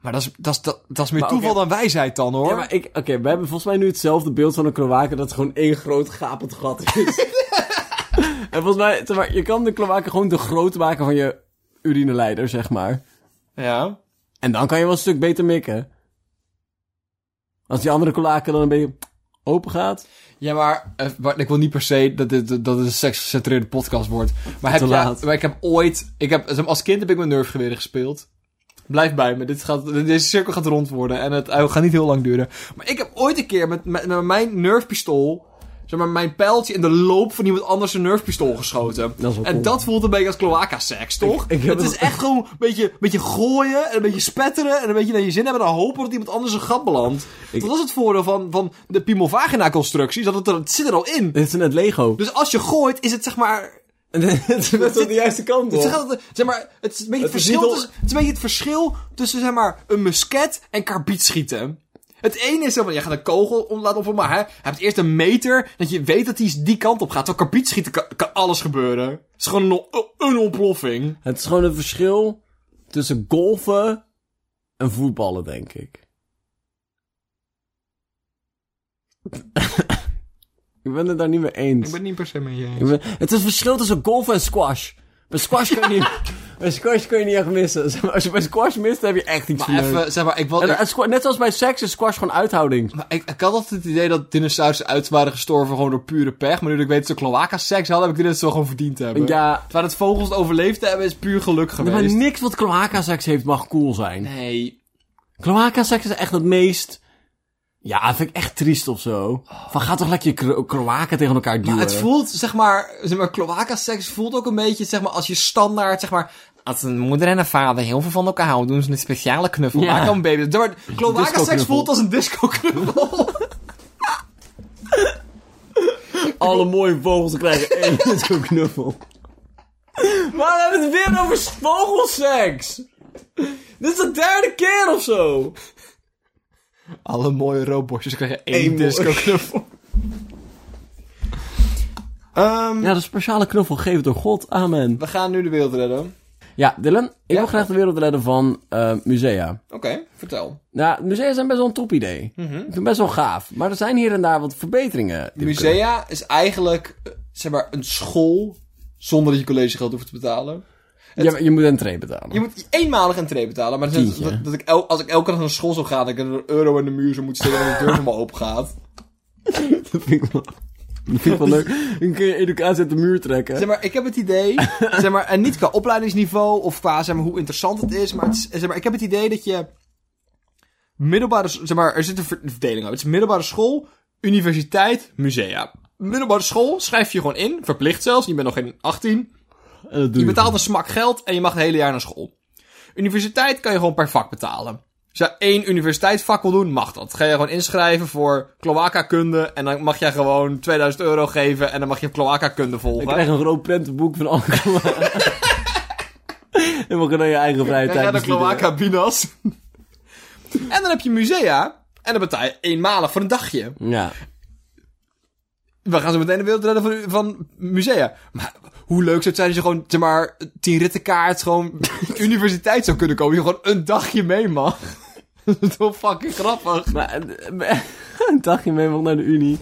Maar dat is, dat is, dat, dat is meer Maar toeval oké. dan wijsheid dan, hoor. Ja, maar ik... Oké, we hebben volgens mij nu hetzelfde beeld van een kloaka dat het gewoon één groot gapend gat is. en volgens mij... zeg maar, je kan de kloaka gewoon te groot maken van je urineleider, zeg maar. Ja. En dan kan je wel een stuk beter mikken. Als die andere kloaka dan een beetje open gaat. Ja, maar, eh, maar ik wil niet per se dat dit dat het een seksgecentreerde podcast wordt. Maar, heb Te jij- laat. maar ik heb ooit... Ik heb, als kind heb ik mijn nerfgeweren gespeeld. Blijf bij me. Dit gaat, deze cirkel gaat rond worden. En het, het gaat niet heel lang duren. Maar ik heb ooit een keer met, met, met mijn nerfpistool... Zeg maar, mijn pijltje in de loop van iemand anders een nerfpistool geschoten. Dat is wel en cool. dat voelt een beetje als cloaca-seks, toch? ik heb het is het- echt gewoon een beetje, een beetje gooien en een beetje spetteren... en een beetje naar je zin hebben en dan hopen dat iemand anders een gat belandt. Ik- Dat was het voordeel van, van de piemelvagina-constructie. Dat het, er, het zit er al in. Dit is net Lego. Dus als je gooit, is het zeg maar... En het is aan de juiste kant Het op. is, altijd- zeg maar, het is, een beetje het, Het is verschil niet al- tussen, het is een beetje het verschil tussen zeg maar, een musket en karbiet schieten. Het ene is helemaal, je gaat een kogel om, laten op, maar hè, je hebt eerst een meter, dat je weet dat die die kant op gaat. Terwijl karbiet schieten kan, kan alles gebeuren. Het is gewoon een, on- een ontploffing. Het is gewoon een verschil tussen golfen en voetballen, denk ik. ik ben het daar niet mee eens. Ik ben niet per se mee Ik ben- Het is een verschil tussen golfen en squash. Bij squash kun je niet, bij squash kun je niet echt missen. Zeg maar, als je bij squash mist, dan heb je echt iets Maar verneukt. even, zeg maar, ik, wil, En- ik, en squa- net zoals bij seks is squash gewoon uithouding. maar ik, ik had altijd het idee dat dinosaurussen uit waren gestorven gewoon door pure pech. Maar nu dat ik weet dat ze cloaca-seks hadden, heb ik dit net zo gewoon verdiend te hebben. Ja, Waar het vogels het overleefd hebben, is puur geluk maar geweest. niks wat kloaka-seks heeft mag cool zijn. Nee, Kloaka-seks is echt het meest... Ja, vind ik echt triest of zo. Van ga toch lekker je kro- kloaken tegen elkaar duwen. Maar het voelt, zeg maar, zeg maar cloaca-seks voelt ook een beetje, zeg maar, als je standaard, zeg maar... Als een moeder en een vader heel veel van elkaar houden, doen ze een speciale knuffel. Ja. Waar kan baby... Zeg maar, Cloaca-seks Disco-knuffel. voelt als een disco-knuffel. Alle mooie vogels krijgen één zo'n knuffel. Maar we hebben het weer over vogelseks. Dit is de derde keer of zo. Alle mooie robotjes krijgen Eén één mooi. disco-knuffel. Ehm, Ja, de speciale knuffel gegeven door God. Amen. We gaan nu de wereld redden. Ja, Dylan, ik wil Ja? graag de wereld redden van eh, musea. Oké, vertel. Nou, musea zijn best wel een top idee. Ik vind best wel gaaf. Maar er zijn hier en daar wat verbeteringen. die we kunnen- Musea is eigenlijk, eh, zeg maar, een school zonder dat je collegegeld hoeft te betalen. Ja, maar je moet een tree betalen. Je moet eenmalig entree betalen. Maar dat, is- Tientje. dat, dat ik el- als ik elke dag naar school zou gaan, dat ik een euro in de muur zou moeten steken en de deur helemaal open gaat. Dat vind ik wel, dat vind ik wel leuk. Dan kun je educatie uit de muur trekken. Zeg maar, ik heb het idee, zeg maar, en niet qua opleidingsniveau of qua zeg maar, hoe interessant het is, maar, het is- zeg maar ik heb het idee dat je middelbare, s- zeg maar, er zit een ver- verdeling op. Het is middelbare school, universiteit, musea. Middelbare school schrijf je gewoon in, verplicht zelfs, je bent nog geen 18. En dat doe Je je. betaalt een smak geld en je mag het hele jaar naar school. Universiteit kan je gewoon per vak betalen. Als je één universiteitsvak wil doen, mag dat. Ga je gewoon inschrijven voor kloaka-kunde en dan mag jij gewoon 2000 euro geven en dan mag je kloaka-kunde Ik volgen. krijg een groot prentenboek van alle kloaken. En we kunnen je eigen vrije Dan ga je naar tijd bestuderen. kloaka-binas. en dan heb je musea en dan betaal je eenmalig voor een dagje. Ja. We gaan zo meteen de wereld redden van, van musea. Maar hoe leuk zou het zijn als je gewoon, zeg maar, tien rittenkaart, gewoon universiteit zou kunnen komen. Je gewoon een dagje mee mag. Dat is wel fucking grappig. Maar eh, een dagje mee nog naar de Unie.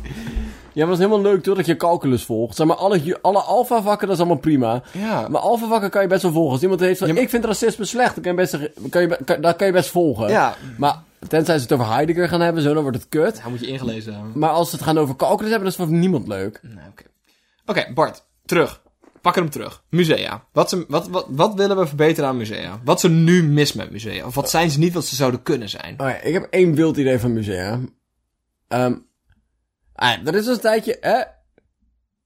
Ja, maar het is helemaal leuk toch dat je calculus volgt. Zeg maar, alle, ju- alle alfa vakken, dat is allemaal prima. Ja. Maar alfa vakken kan je best wel volgen. Als iemand heeft van, Ja, maar- ik vind racisme slecht, dan kan je best, kan je, be- kan, daar kan je best volgen. Ja. Maar Tenzij ze het over Heidegger gaan hebben, zo, dan wordt het kut. Daar moet je ingelezen hebben. Maar als ze het gaan over calculus hebben, dat is voor niemand leuk. Nee, oké. Oké, Bart. Terug. Pakken hem terug. Musea. Wat, ze, wat, wat, wat willen we verbeteren aan musea? Wat ze nu mis met musea? Of wat zijn ze niet wat ze zouden kunnen zijn? Oh ja, ik heb één wild idee van musea. Ehm ah, er is een tijdje, hè?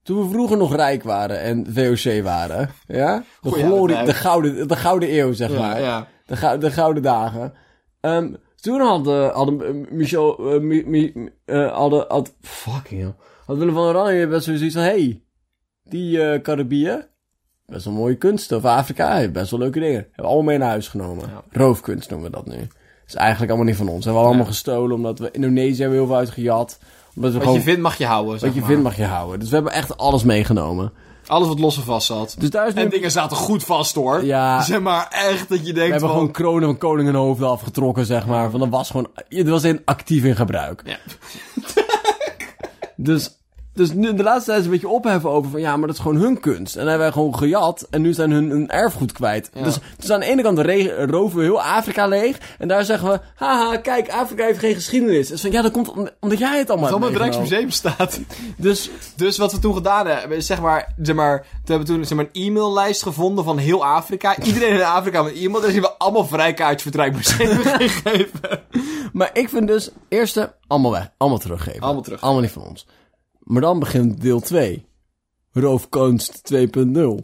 Toen we vroeger nog rijk waren en VOC waren, ja? De, Goeie glorie, tijd. de, gouden, de gouden eeuw, zeg Ja, maar. ja. De, gou- de gouden dagen. Ehm, toen hadden, hadden eh, Michel, eh, Mi- Mi- eh, hadden, had, fucking hell. Had Willem van Oranje best wel zoiets van, hey, die eh, Caribië, best wel mooie kunst. Of Afrika, heeft best wel leuke dingen. Hebben we allemaal mee naar huis genomen. Ja. Roofkunst noemen we dat nu. is eigenlijk allemaal niet van ons. Hebben we allemaal gestolen, omdat we Indonesië hebben heel veel uitgejat. Omdat we Wat gewoon, je vindt mag je houden, zeg wat je maar. vindt mag je houden. Dus we hebben echt alles meegenomen. Alles wat los en vast zat. Dus daar is nu... En dingen zaten goed vast, hoor. Ja. Zeg maar, echt dat je We denkt hebben van... gewoon kronen van koningenhoofden afgetrokken, zeg maar. Van dat was gewoon... Het was in actief in gebruik. Ja. Dus, dus nu, de laatste tijd is een beetje opheffen over van... Ja, maar dat is gewoon hun kunst. En dan hebben wij gewoon gejat. En nu zijn hun, hun erfgoed kwijt. Ja. Dus, dus aan de ene kant re- roven we heel Afrika leeg. En daar zeggen we... Haha, kijk, Afrika heeft geen geschiedenis. Dus van, ja, dat komt om- omdat jij het allemaal Van het hebt meegenomen. Rijksmuseum staat. Dus Dus wat we toen gedaan hebben, is zeg maar, zeg maar, we hebben toen zeg maar, een e-maillijst gevonden van heel Afrika. Iedereen in Afrika met een e-mail. Daar zien we allemaal vrijkaartjes voor het Rijksmuseum gegeven. Maar ik vind dus, eerste, allemaal weg. Allemaal teruggeven. Allemaal terug. Allemaal niet van ons. Maar dan begint deel 2. Roofkunst 2.0. Oh?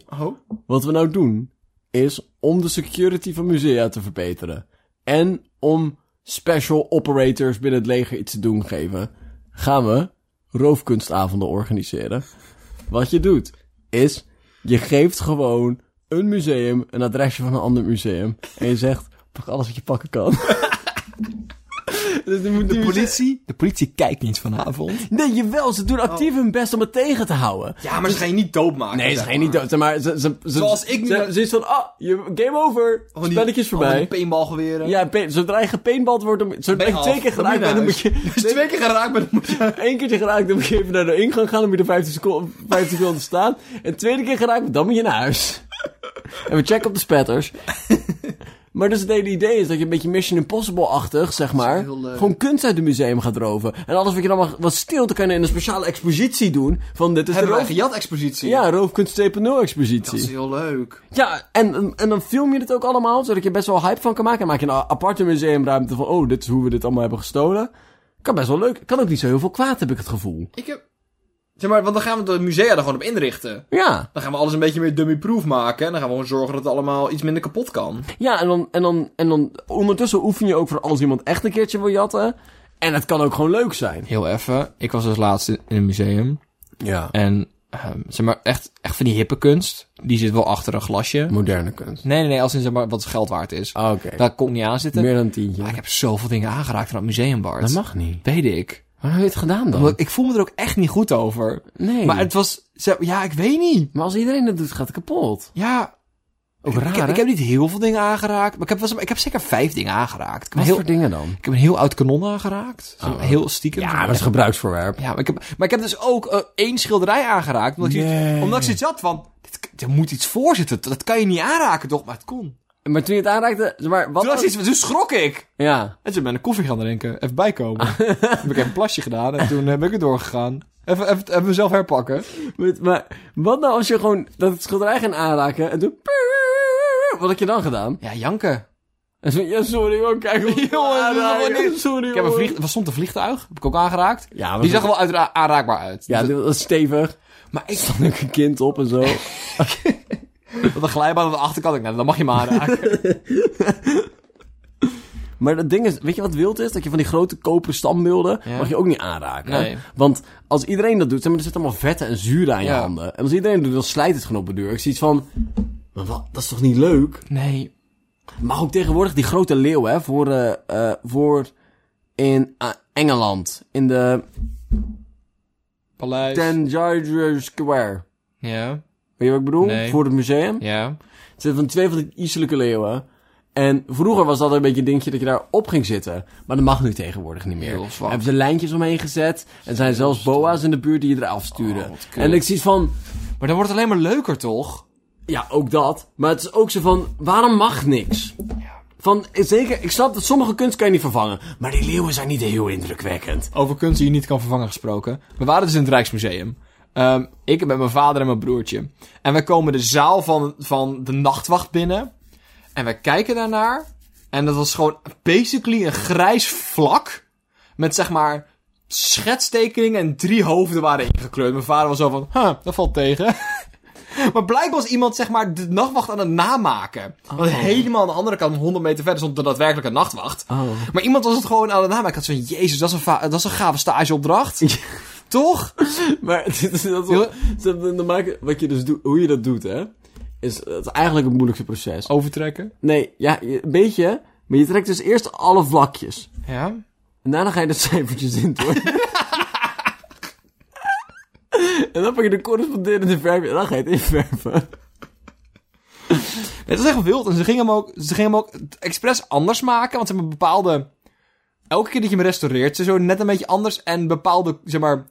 Wat we nou doen, is om de security van musea te verbeteren. En om special operators binnen het leger iets te doen geven. Gaan we roofkunstavonden organiseren. Wat je doet, is je geeft gewoon een museum een adresje van een ander museum. En je zegt, pak alles wat je pakken kan. Dus die moet- die musea- politie? De politie kijkt niet vanavond. Nee, jawel, ze doen actief hun best om het tegen te houden. Ja, maar ze gaan je niet doodmaken. Nee, ze gaan je niet dood. zeg Maar ze, ze, ze, Zoals ik nu- Ze, ze is van, ah, je, game over. Spelletjes voorbij. peenbalgeweren. Ja, pe- zodra je gepaintballed wordt, dan, zodra je twee keer geraakt bent, dan moet je... Dus twee keer geraakt bent, dan moet je... Eén keertje geraakt, dan moet je even naar de ingang gaan, dan moet je er 15 seconden, 15 seconden staan. En tweede keer geraakt, bent, dan moet je naar huis. En we checken op de spetters. Maar dus het hele idee is dat je een beetje Mission Impossible-achtig, zeg maar, heel eh, leuk. gewoon kunst uit het museum gaat roven. En alles wat je dan mag, wat stil te kunnen in een speciale expositie doen, van dit is de Hebben wij roof... een gejat-expositie? Ja, roofkunst 2.0-expositie. Dat is heel leuk. Ja, en, en dan film je het ook allemaal, zodat je er best wel hype van kan maken. En maak je een aparte museumruimte van, oh, dit is hoe we dit allemaal hebben gestolen. Kan best wel leuk. Kan ook niet zo heel veel kwaad, heb ik het gevoel. Ik heb... Zeg maar, want dan gaan we de musea er gewoon op inrichten. Ja, Dan gaan we alles een beetje meer dummy-proof maken. En dan gaan we gewoon zorgen dat het allemaal iets minder kapot kan. ja en, dan, en, dan, en dan ondertussen oefen je ook voor als iemand echt een keertje wil jatten. En het kan ook gewoon leuk zijn. Heel even. Ik was dus laatst in in een museum. Ja. En ehm, zeg maar, echt, echt van die hippe kunst. Die zit wel achter een glasje. Moderne kunst. Nee, nee, nee. Als in zeg maar wat geld waard is. Ah, Oké, Daar kon ik niet aan zitten. meer dan een Maar tientje. ik heb zoveel dingen aangeraakt aan dat museum, Bart. Dat mag niet. Weet ik. Waarom heb je het gedaan dan? Want ik voel me er ook echt niet goed over. Nee. Maar het was... zeg- Ja, ik weet niet. Maar als iedereen dat doet, gaat het kapot. Ja, Ook ik, raar, heb, hè? ik heb niet heel veel dingen aangeraakt. Maar ik heb, wel eens- ik heb zeker vijf dingen aangeraakt. Ik heb, Wat een heel, voor dingen dan? ik heb een heel oud kanon aangeraakt. Zo'n Oh. Heel stiekem. Ja, dat is gebruiksvoorwerp. Ja, maar ik heb, maar ik heb dus ook eh, één schilderij aangeraakt. Omdat ik, Nee. zoiets, omdat ik zoiets had van... Dit, er moet iets voor zitten. Dat kan je niet aanraken, toch? Maar het kon. Maar toen je het aanraakte, maar wat Toen, was was- iets, toen dus schrok ik. Ja. En toen ben ik koffie gaan drinken. Even bijkomen. toen heb ik even een plasje gedaan. En toen eh, ben ik er doorgegaan. Even, even, even mezelf herpakken. Met- maar wat nou als je gewoon dat schilderij gaat aanraken en toen... Wat heb je dan gedaan? Ja, janken. En zo, ja, sorry hoor, kijk wat ik wil Jongen, dat is aanraken. helemaal niet. Sorry Ik heb een hoor. vlieg, was stond een vliegtuig. Heb ik ook aangeraakt. Ja, maar Die zag er wel uitra- aanraakbaar uit. Dus Ja, dat was stevig. Maar Er stond ook een kind op en zo. Dat een glijbaan aan de achterkant. Ik, nou, dan mag je me aanraken. Maar dat ding is, weet je wat wild is? Dat je van die grote koperen standbeelden Ja. mag je ook niet aanraken. Nee. Want als iedereen dat doet, zeg maar, er zit allemaal vetten en zuur aan je Ja. handen. En als iedereen dat doet, dan slijt het gewoon op de deur. Ik zie iets van, maar wat, dat is toch niet leuk? nee. Maar ook tegenwoordig die grote leeuw, hè, voor, eh, eh, voor in eh, Engeland. In de Paleis. Tangier Square. Ja. Weet je wat ik bedoel? Nee. Voor het museum. Ja. Er zitten van twee van die ijselijke leeuwen. En vroeger was dat een beetje een dingetje dat je daar op ging zitten. Maar dat mag nu tegenwoordig niet meer. Heel zwak. Hebben ze lijntjes omheen gezet. En zijn zelfs boa's in de buurt die je eraf sturen. Oh, wat kut. en ik zie het van, Maar dan wordt het alleen maar leuker, toch? ja, ook dat. Maar het is ook zo van, waarom mag niks? Van, eh, zeker, ik snap dat sommige kunst kan je niet vervangen. Maar die leeuwen zijn niet heel indrukwekkend. Over kunst die je niet kan vervangen gesproken. We waren dus in het Rijksmuseum. Ehm, ik met mijn vader en mijn broertje. En wij komen de zaal van, van de nachtwacht binnen. En wij kijken daarnaar. En dat was gewoon basically een grijs vlak. Met zeg maar schetstekeningen en drie hoofden waren ingekleurd. Mijn vader was zo van, huh, dat valt tegen. maar blijkbaar was iemand zeg maar de nachtwacht aan het namaken. Want helemaal aan de andere kant, 100 meter verder, stond de daadwerkelijke nachtwacht. Oh. Maar iemand was het gewoon aan het namaken. Ik had zo'n, jezus, dat is een, va- dat is een gave stageopdracht. Toch? Maar dat is dat is wel- dat- dat maken- wat je dus doet, hoe je dat doet, hè, is, dat is eigenlijk het moeilijkste proces. Overtrekken. Nee, ja, je- een beetje, maar je trekt dus eerst alle vlakjes. Ja. En daarna ga je de cijfertjes in doen. en dan pak je de corresponderende verf en dan ga je het inverven. Het is echt wild. En ze gingen hem ook, ze gingen hem ook expres anders maken. Want ze hebben bepaalde... Elke keer dat je hem restaureert, ze zo net een beetje anders. En bepaalde, zeg maar...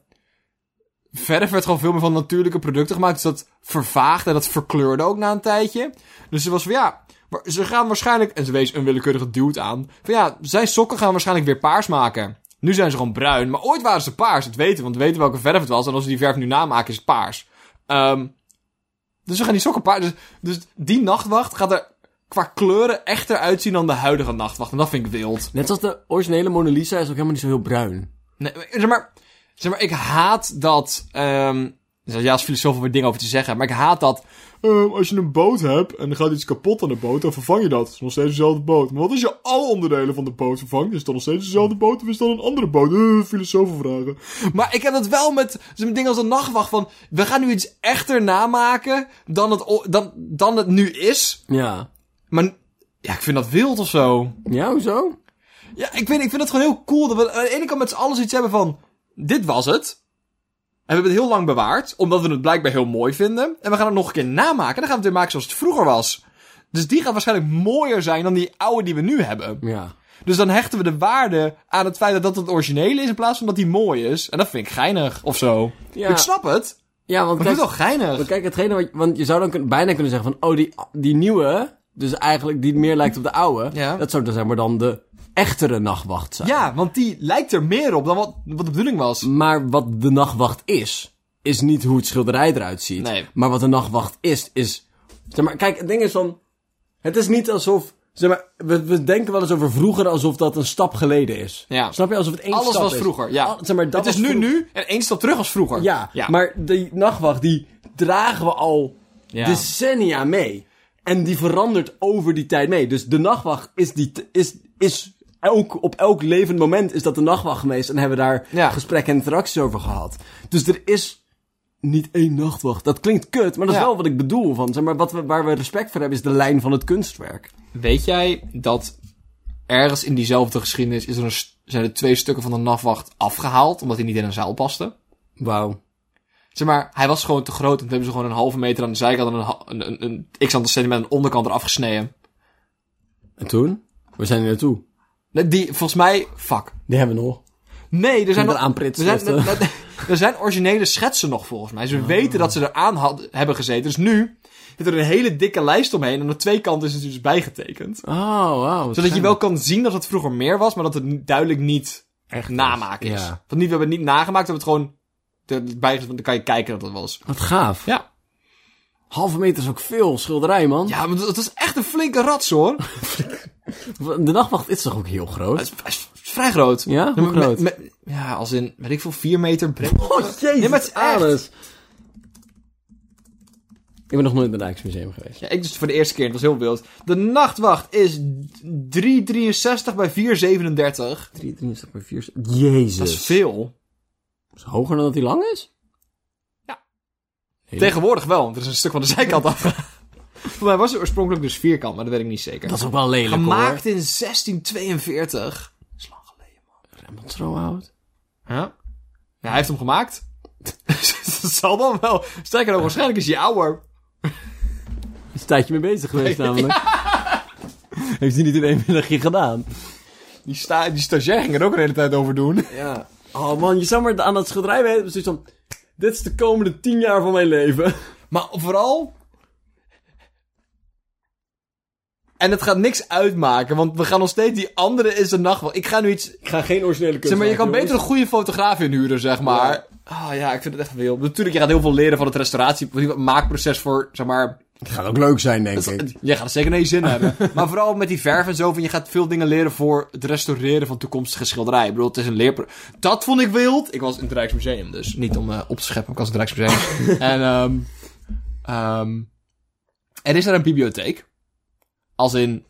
Verder werd gewoon veel meer van natuurlijke producten gemaakt. Dus dat vervaagde en dat verkleurde ook na een tijdje. Dus ze was van ja... Maar ze gaan waarschijnlijk... En ze wees een willekeurige duwt aan. Van ja, zijn sokken gaan waarschijnlijk weer paars maken. Nu zijn ze gewoon bruin. Maar ooit waren ze paars. Dat weten we. Want we weten welke verf het was. En als we die verf nu namaken, is het paars. Ehm dus we gaan die sokken paars. Dus, dus die nachtwacht gaat er qua kleuren echter uitzien dan de huidige nachtwacht. En dat vind ik wild. Net als de originele Mona Lisa is ook helemaal niet zo heel bruin. Nee, maar- zeg, maar, zeg maar, ik haat dat. ehm ja, als filosoof heb ik dingen over te zeggen. Maar ik haat dat. ehm, als je een boot hebt en er gaat iets kapot aan de boot, dan vervang je dat. Het is nog steeds dezelfde boot. Maar wat als je alle onderdelen van de boot vervangt? Is het dan nog steeds dezelfde boot of is het dan een andere boot? Eh, filosofen vragen. Maar ik heb dat wel met zo'n ding als een nachtwacht van. We gaan nu iets echter namaken dan het, o- dan, dan het nu is. Ja. Maar ja, ik vind dat wild of zo. Ja, hoezo? Ja, ik, weet, ik vind het gewoon heel cool dat we aan de ene kant met z'n allen iets hebben van... Dit was het. En we hebben het heel lang bewaard, omdat we het blijkbaar heel mooi vinden. En we gaan het nog een keer namaken. En dan gaan we het weer maken zoals het vroeger was. Dus die gaat waarschijnlijk mooier zijn dan die oude die we nu hebben. Ja. Dus dan hechten we de waarde aan het feit dat dat het originele is in plaats van dat die mooi is. En dat vind ik geinig, of zo. Ja. Ik snap het, Ja, want maar ik vind het wel kijk, geinig. want kijk hetgene wat, want je zou dan kun- bijna kunnen zeggen van, oh, die, die nieuwe, dus eigenlijk die meer lijkt op de oude, Ja. dat zou dan zeg maar dan de echtere nachtwacht zijn. Ja, want die lijkt er meer op dan wat, wat de bedoeling was. Maar wat de nachtwacht is, is niet hoe het schilderij eruit ziet. Nee. Maar wat de nachtwacht is, is... Zeg maar, kijk, het ding is van... Het is niet alsof... Zeg maar, we, we denken wel eens over vroeger alsof dat een stap geleden is. Ja. Snap je? Alsof het één Alles stap was is. vroeger, ja. Al- zeg maar, dat het is was nu vroeger. nu en één stap terug als vroeger. Ja, maar die nachtwacht, die dragen we al Ja. decennia mee. En die verandert over die tijd mee. Dus de nachtwacht is die... t- Is, is elk, op elk levend moment is dat de nachtwacht geweest. En hebben daar Ja. gesprekken en interacties over gehad. Dus er is niet één nachtwacht. Dat klinkt kut, maar dat is Ja. wel wat ik bedoel. Van, zeg maar, wat we, waar we respect voor hebben is de lijn van het kunstwerk. Weet jij dat ergens in diezelfde geschiedenis is er een st- zijn er twee stukken van de nachtwacht afgehaald, omdat hij niet in een zaal paste? Wauw. Zeg maar, hij was gewoon te groot en toen hebben ze gewoon een halve meter aan de zijkant en een, ha- een, een, een x aantal centimeter aan de onderkant eraf gesneden. En toen? Waar zijn we naartoe? Nee, Die, volgens mij, fuck. Die hebben we nog. Nee, er zijn nog... Met een aanprits- Er zijn, of, eh. er- er- er zijn originele schetsen nog, volgens mij. Ah. Ze weten dat ze eraan had, hebben gezeten. Dus nu zit er een hele dikke lijst omheen en aan de twee kanten is het dus bijgetekend. Oh, wauw. Zodat je wel kan zien dat het vroeger meer was, maar dat het nu duidelijk niet echt namaken is. ja. Want niet, we hebben het niet nagemaakt, we hebben het gewoon erbij gezet, want dan kan je kijken dat het was. Wat gaaf. Ja. Halve meter is ook veel schilderij, man. Ja, maar dat dat is echt een flinke rats hoor. De nachtwacht is toch ook heel groot? Het is, het is vrij groot. Ja? Hoe Maar met- groot? met- ja, als in, weet ik veel, 4 meter breed. Oh, jezus, Nee, maar het is echt. alles. Ik ben nog nooit naar het Rijksmuseum geweest. Ja, ik dus voor de eerste keer, het was heel wild. De nachtwacht is 363 bij 437. 3,73 bij 4. Dat Jezus. is veel. Is het hoger dan dat hij lang is? Ja. Heel- Tegenwoordig wel, want er is een stuk van de zijkant af. Voor mij was het oorspronkelijk dus vierkant, maar dat weet ik niet zeker. Dat is ook wel lelijk, Gemaakt in 1642. Dat is lang geleden, man. hoor. Rembrandt zo oud. Ja? hij heeft hem gemaakt. dat zal dan wel. Sterker nog, waarschijnlijk is hij ouder. Is een tijdje mee bezig geweest namelijk. Heeft hij niet in één middagje gedaan. Die, sta die stagiair ging er ook een hele tijd over doen. Ja. Oh man, je zou maar aan dat schilderij weten. precies van... Dit is de komende tien jaar van mijn leven. Maar vooral... En het gaat niks uitmaken, want we gaan nog steeds die andere is de nachtwacht. Ik ga nu iets... Ik ga geen originele kunst Zeg maar, je kan maken, beter een goede fotograaf inhuren, zeg maar. Ah ja, ik vind het echt veel. Natuurlijk, je gaat heel veel leren van het restauratie, van het maakproces voor, zeg maar... jongens. Gaat ook leuk zijn, denk ik. Je gaat er zeker naar je zin hebben. Maar vooral met die verf en zo, van je gaat veel dingen leren voor het restaureren van toekomstige schilderijen. Ik bedoel, het is een leerpro... Dat vond ik wild. Ik was in het Rijksmuseum, dus niet om eh, op te scheppen, ik was in het Rijksmuseum. en ehm ehm, er is daar een bibliotheek. Als in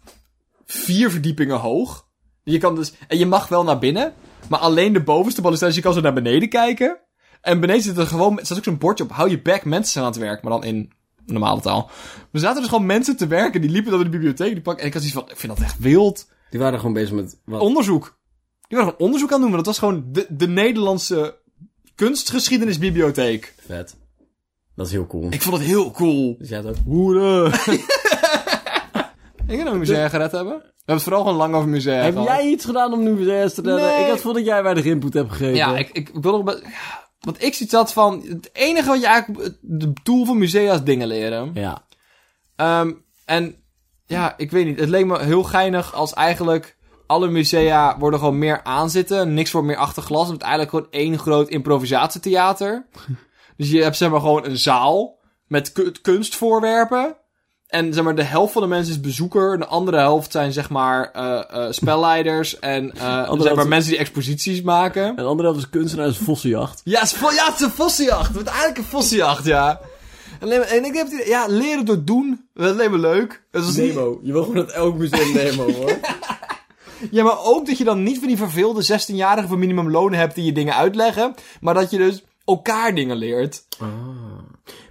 vier verdiepingen hoog. Je kan dus, en je mag wel naar binnen, maar alleen de bovenste balustrade, dus je kan zo naar beneden kijken. En beneden zit er gewoon, er staat ook zo'n bordje op, hou je bek, mensen zijn aan het werk, maar dan in normale taal. Er zaten dus gewoon mensen te werken, die liepen dan in de bibliotheek, die pakken, en ik had zoiets van, ik vind dat echt wild. Die waren gewoon bezig met... Wat? Onderzoek. Die waren gewoon onderzoek aan het doen, want dat was gewoon de, de Nederlandse kunstgeschiedenisbibliotheek. Vet. Dat is heel cool. Ik vond het heel cool. Dus jij had ook... Hoeren. ik kan een musea gered hebben. We hebben het vooral gewoon lang over musea Heb gehad. jij iets gedaan om nu weer te redden? Nee. Ik had het gevoel dat jij weinig input hebt gegeven. Ja, ik, ik, ik wil nog... be- ja, Want ik zie dat van... Het enige wat je eigenlijk... Het doel van musea is dingen leren. Ja. Ehm, en ja, ik weet niet. Het leek me heel geinig als eigenlijk... Alle musea worden gewoon meer aanzitten. Niks wordt meer achter glas. Het is eigenlijk gewoon één groot improvisatietheater. dus je hebt zeg maar gewoon een zaal... Met ku- kunstvoorwerpen. En zeg maar, de helft van de mensen is bezoeker. En de andere helft zijn zeg maar eh, eh, spelleiders. En eh, zeg maar, helft- mensen die exposities maken. En de andere helft is kunstenaar, is vossenjacht. Ja, het is, vo- ja, het is een vossenjacht. Het wordt eigenlijk een vossenjacht, ja. En, alleen maar- en ik heb het idee- ja, leren door doen, dat is alleen maar leuk. Dat is niet, Nemo. Je wil gewoon dat elk museum Nemo, hoor. ja, maar ook dat je dan niet van die verveelde 16-jarigen voor minimumloon hebt die je dingen uitleggen. Maar dat je dus elkaar dingen leert. Ah.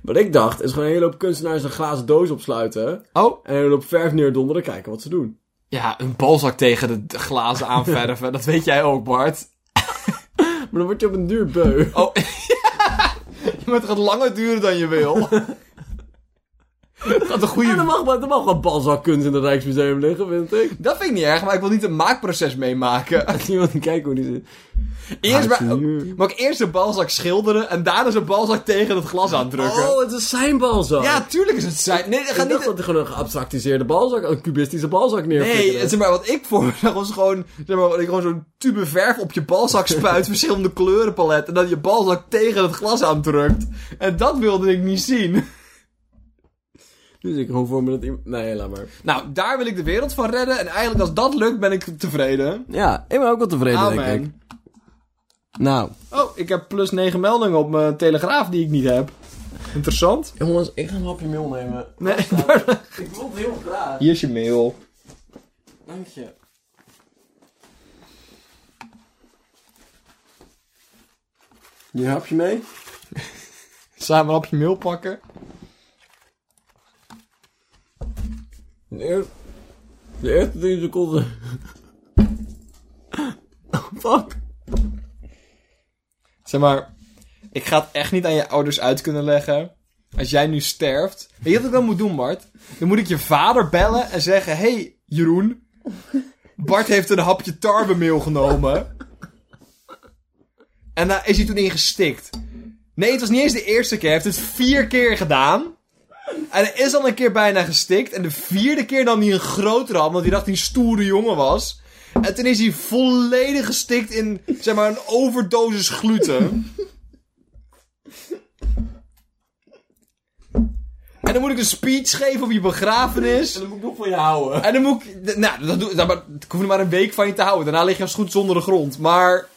Wat ik dacht, is gewoon een hele hoop kunstenaars een glazen doos opsluiten. Oh, En een hele hoop verf neerdonderen, kijken wat ze doen. ja, een balzak tegen de- de glazen aanverven. dat weet jij ook, Bart. Maar dan word je op een duur beu. Oh, maar het gaat langer duren dan je wil. het gaat een En goede... dan mag, maar- dan mag wel balzakkunst in het Rijksmuseum liggen, vind ik. Dat vind ik niet erg, maar ik wil niet een maakproces meemaken. Als iemand kan kijken hoe die zit. Eerst Ah, ik maar, zie nu. mag ik eerst de balzak schilderen en daarna zijn balzak tegen het glas aandrukken? Oh, het is zijn balzak. ja, tuurlijk is het zijn. Nee, ik ga dacht niet. dat hij gewoon een geabstractiseerde balzak, een cubistische balzak neerflikkerde. Nee, zeg maar, wat ik voor me zag was gewoon, zeg maar, dat je gewoon zo'n tube verf op je balzak spuit, verschillende kleurenpalet, en dan je balzak tegen het glas aandrukt. En dat wilde ik niet zien. Dus ik gewoon voor me dat iemand... Nee, laat maar. Nou, daar wil ik de wereld van redden, en eigenlijk als dat lukt ben ik tevreden. Ja, ik ben ook wel tevreden, denk ik. Amen. Nou. Oh, ik heb plus 9 meldingen op mijn telegraaf die ik niet heb. Interessant. Jongens, ik ga een hapje meel nemen. Nee, Ik wil het heel graag. hier is je mail. Dank je. Je hapje mee? Samen op je mail pakken. De eerste, de eerste 10 seconden. Oh, fuck. Zeg maar, ik ga het echt niet aan je ouders uit kunnen leggen. Als jij nu sterft. Weet je wat ik dan moet doen, Bart? Dan moet ik je vader bellen en zeggen: hey, Jeroen. Bart heeft een hapje tarwemeel genomen. En daar is hij toen ingestikt. Nee, het was niet eens de eerste keer. Hij heeft het vier keer gedaan. En hij is al een keer bijna gestikt. En de vierde keer nam hij een groot ram, want hij dacht dat hij een stoere jongen was. En toen is hij volledig gestikt in, zeg maar, een overdosis gluten. en dan moet ik een speech geven op je begrafenis. dan moet ik nog van je houden. En dan moet ik... d- Nou, dat doe, nou, maar, ik hoef er maar een week van je te houden. Daarna lig je als goed zonder de grond. Maar...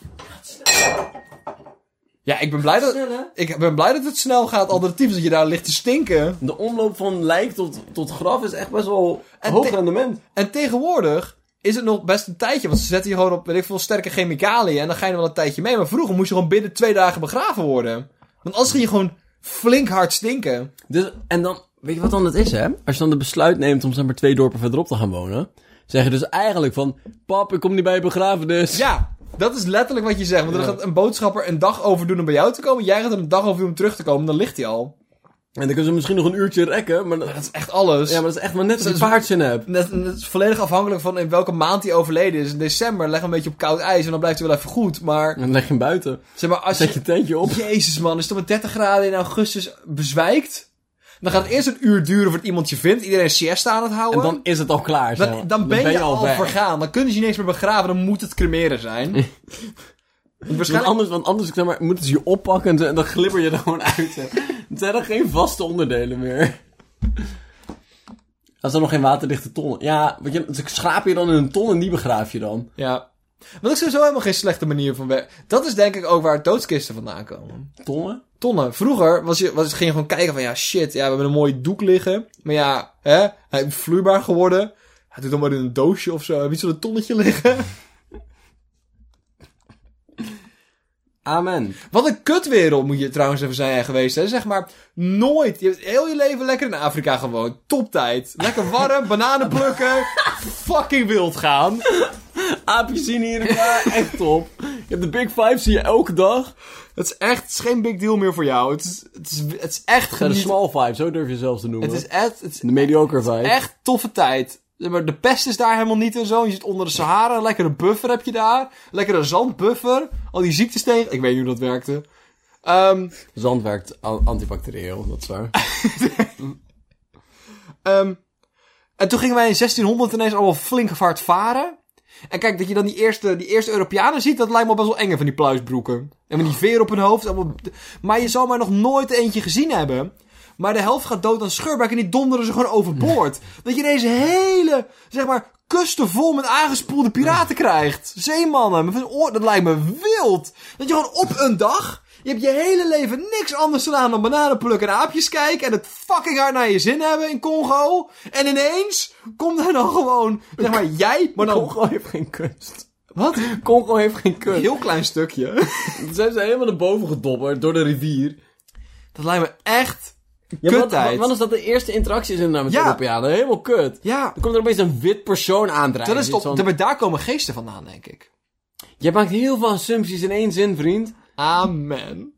Ja, ik ben blij dat... Snel, hè? Ik ben blij dat het snel gaat. Alternatief is dat je daar ligt te stinken. De omloop van lijk tot, tot graf is echt best wel En hoog te- rendement. En tegenwoordig is het nog best een tijdje. Want ze zetten je gewoon op, weet ik veel, sterke chemicaliën. En dan ga je er wel een tijdje mee. Maar vroeger moest je gewoon binnen twee dagen begraven worden. Want anders ging je gewoon flink hard stinken. Dus, en dan, weet je wat dan het is, hè? Als je dan het besluit neemt om zeg maar twee dorpen verderop te gaan wonen, zeg je dus eigenlijk van, pap, ik kom niet bij je begrafenis. Ja, dat is letterlijk wat je zegt. Want dan Ja. gaat een boodschapper een dag over doen om bij jou te komen. Jij gaat er een dag over doen om terug te komen. Dan ligt hij al. En dan kunnen ze misschien nog een uurtje rekken, maar dat, Dat is echt alles. ja, maar dat is echt maar net als je Dat is- paardzin hebt. Net, dat is volledig afhankelijk van in welke maand hij overleden is. In december leg een beetje op koud ijs en dan blijft hij wel even goed. Maar En dan leg je hem buiten. zeg maar, als Zet je... je tentje op. Jezus man, is het op met 30 graden in augustus bezwijkt? Dan gaat het eerst een uur duren voordat iemand je vindt. Iedereen siesta aan het houden. En dan is het al klaar. zo. Dan, dan, ben, je al, weg. vergaan. Dan kunnen ze je niks meer begraven. Dan moet het cremeren zijn. Want Want Waarschijnlijk... anders, want anders ik zeg maar, moeten ze je oppakken en dan- en dan glibber je er gewoon uit. hè. Het zijn er geen vaste onderdelen meer. Dat zijn nog geen waterdichte tonnen. Ja, want je, ze schrapen je dan in een ton en die begraaf je dan. Ja. Wat ik sowieso helemaal geen slechte manier van werk. Dat is denk ik ook waar doodskisten vandaan komen. Tonnen? Tonnen. Vroeger was je, was, ging je gewoon kijken van ja shit, ja, we hebben een mooie doek liggen. Maar ja, hè, hij is vloeibaar geworden. Hij doet dan maar in een doosje of zo. Heb je zo'n tonnetje liggen? Amen. Wat een kutwereld moet je trouwens even zijn geweest. Hè? Zeg maar, nooit. Je hebt heel je leven lekker in Afrika gewoond. Toptijd. Lekker warm, bananen plukken. Fucking wild gaan. Aapjes zien hier en daar. Echt top. Je hebt de Big Five, zie je elke dag. Het is echt het is geen big deal meer voor jou. Het is, het is, het is echt Ja, de geniet. Small Five, zo durf je zelfs te noemen. Het is echt, het is de Mediocre Five. echt toffe tijd. Zeg maar, De pest is daar helemaal niet en zo. Je zit onder de Sahara. Lekkere buffer heb je daar. Lekkere zandbuffer. Al die ziektes tegen. Ik weet niet hoe dat werkte. Ehm Zand werkt a- antibacterieel, dat is waar. Ehm, en toen gingen wij in 1600 ineens allemaal flink hard varen. En kijk, dat je dan die eerste, die eerste Europeanen ziet, dat lijkt me best wel eng van die pluisbroeken. En met die veer op hun hoofd. allemaal- Maar je zal maar nog nooit eentje gezien hebben. Maar de helft gaat dood aan scheurbuik en die donderen ze gewoon overboord. Dat je deze hele, zeg maar, kusten vol met aangespoelde piraten krijgt. Zeemannen, met hun oor- dat lijkt me wild. Dat je gewoon op een dag, je hebt je hele leven niks anders gedaan dan bananen plukken en aapjes kijken. En het fucking hard naar je zin hebben in Congo. En ineens komt er dan gewoon, zeg maar, jij, maar dan... Congo heeft geen kunst. Wat? Congo heeft geen Een kunst. heel klein stukje. Ze zijn ze helemaal naar boven gedobberd door de rivier. Dat lijkt me echt Ja, kuttijd. wat- wat- Wat is dat de eerste interactie is inderdaad met Ja. de Europeanen? Helemaal kut. Ja, Dan komt er opeens een wit persoon aandrijven. dat is Zo'n- toch... maar Daar komen geesten vandaan, denk ik. Jij maakt heel veel assumpties in één zin, vriend. Amen.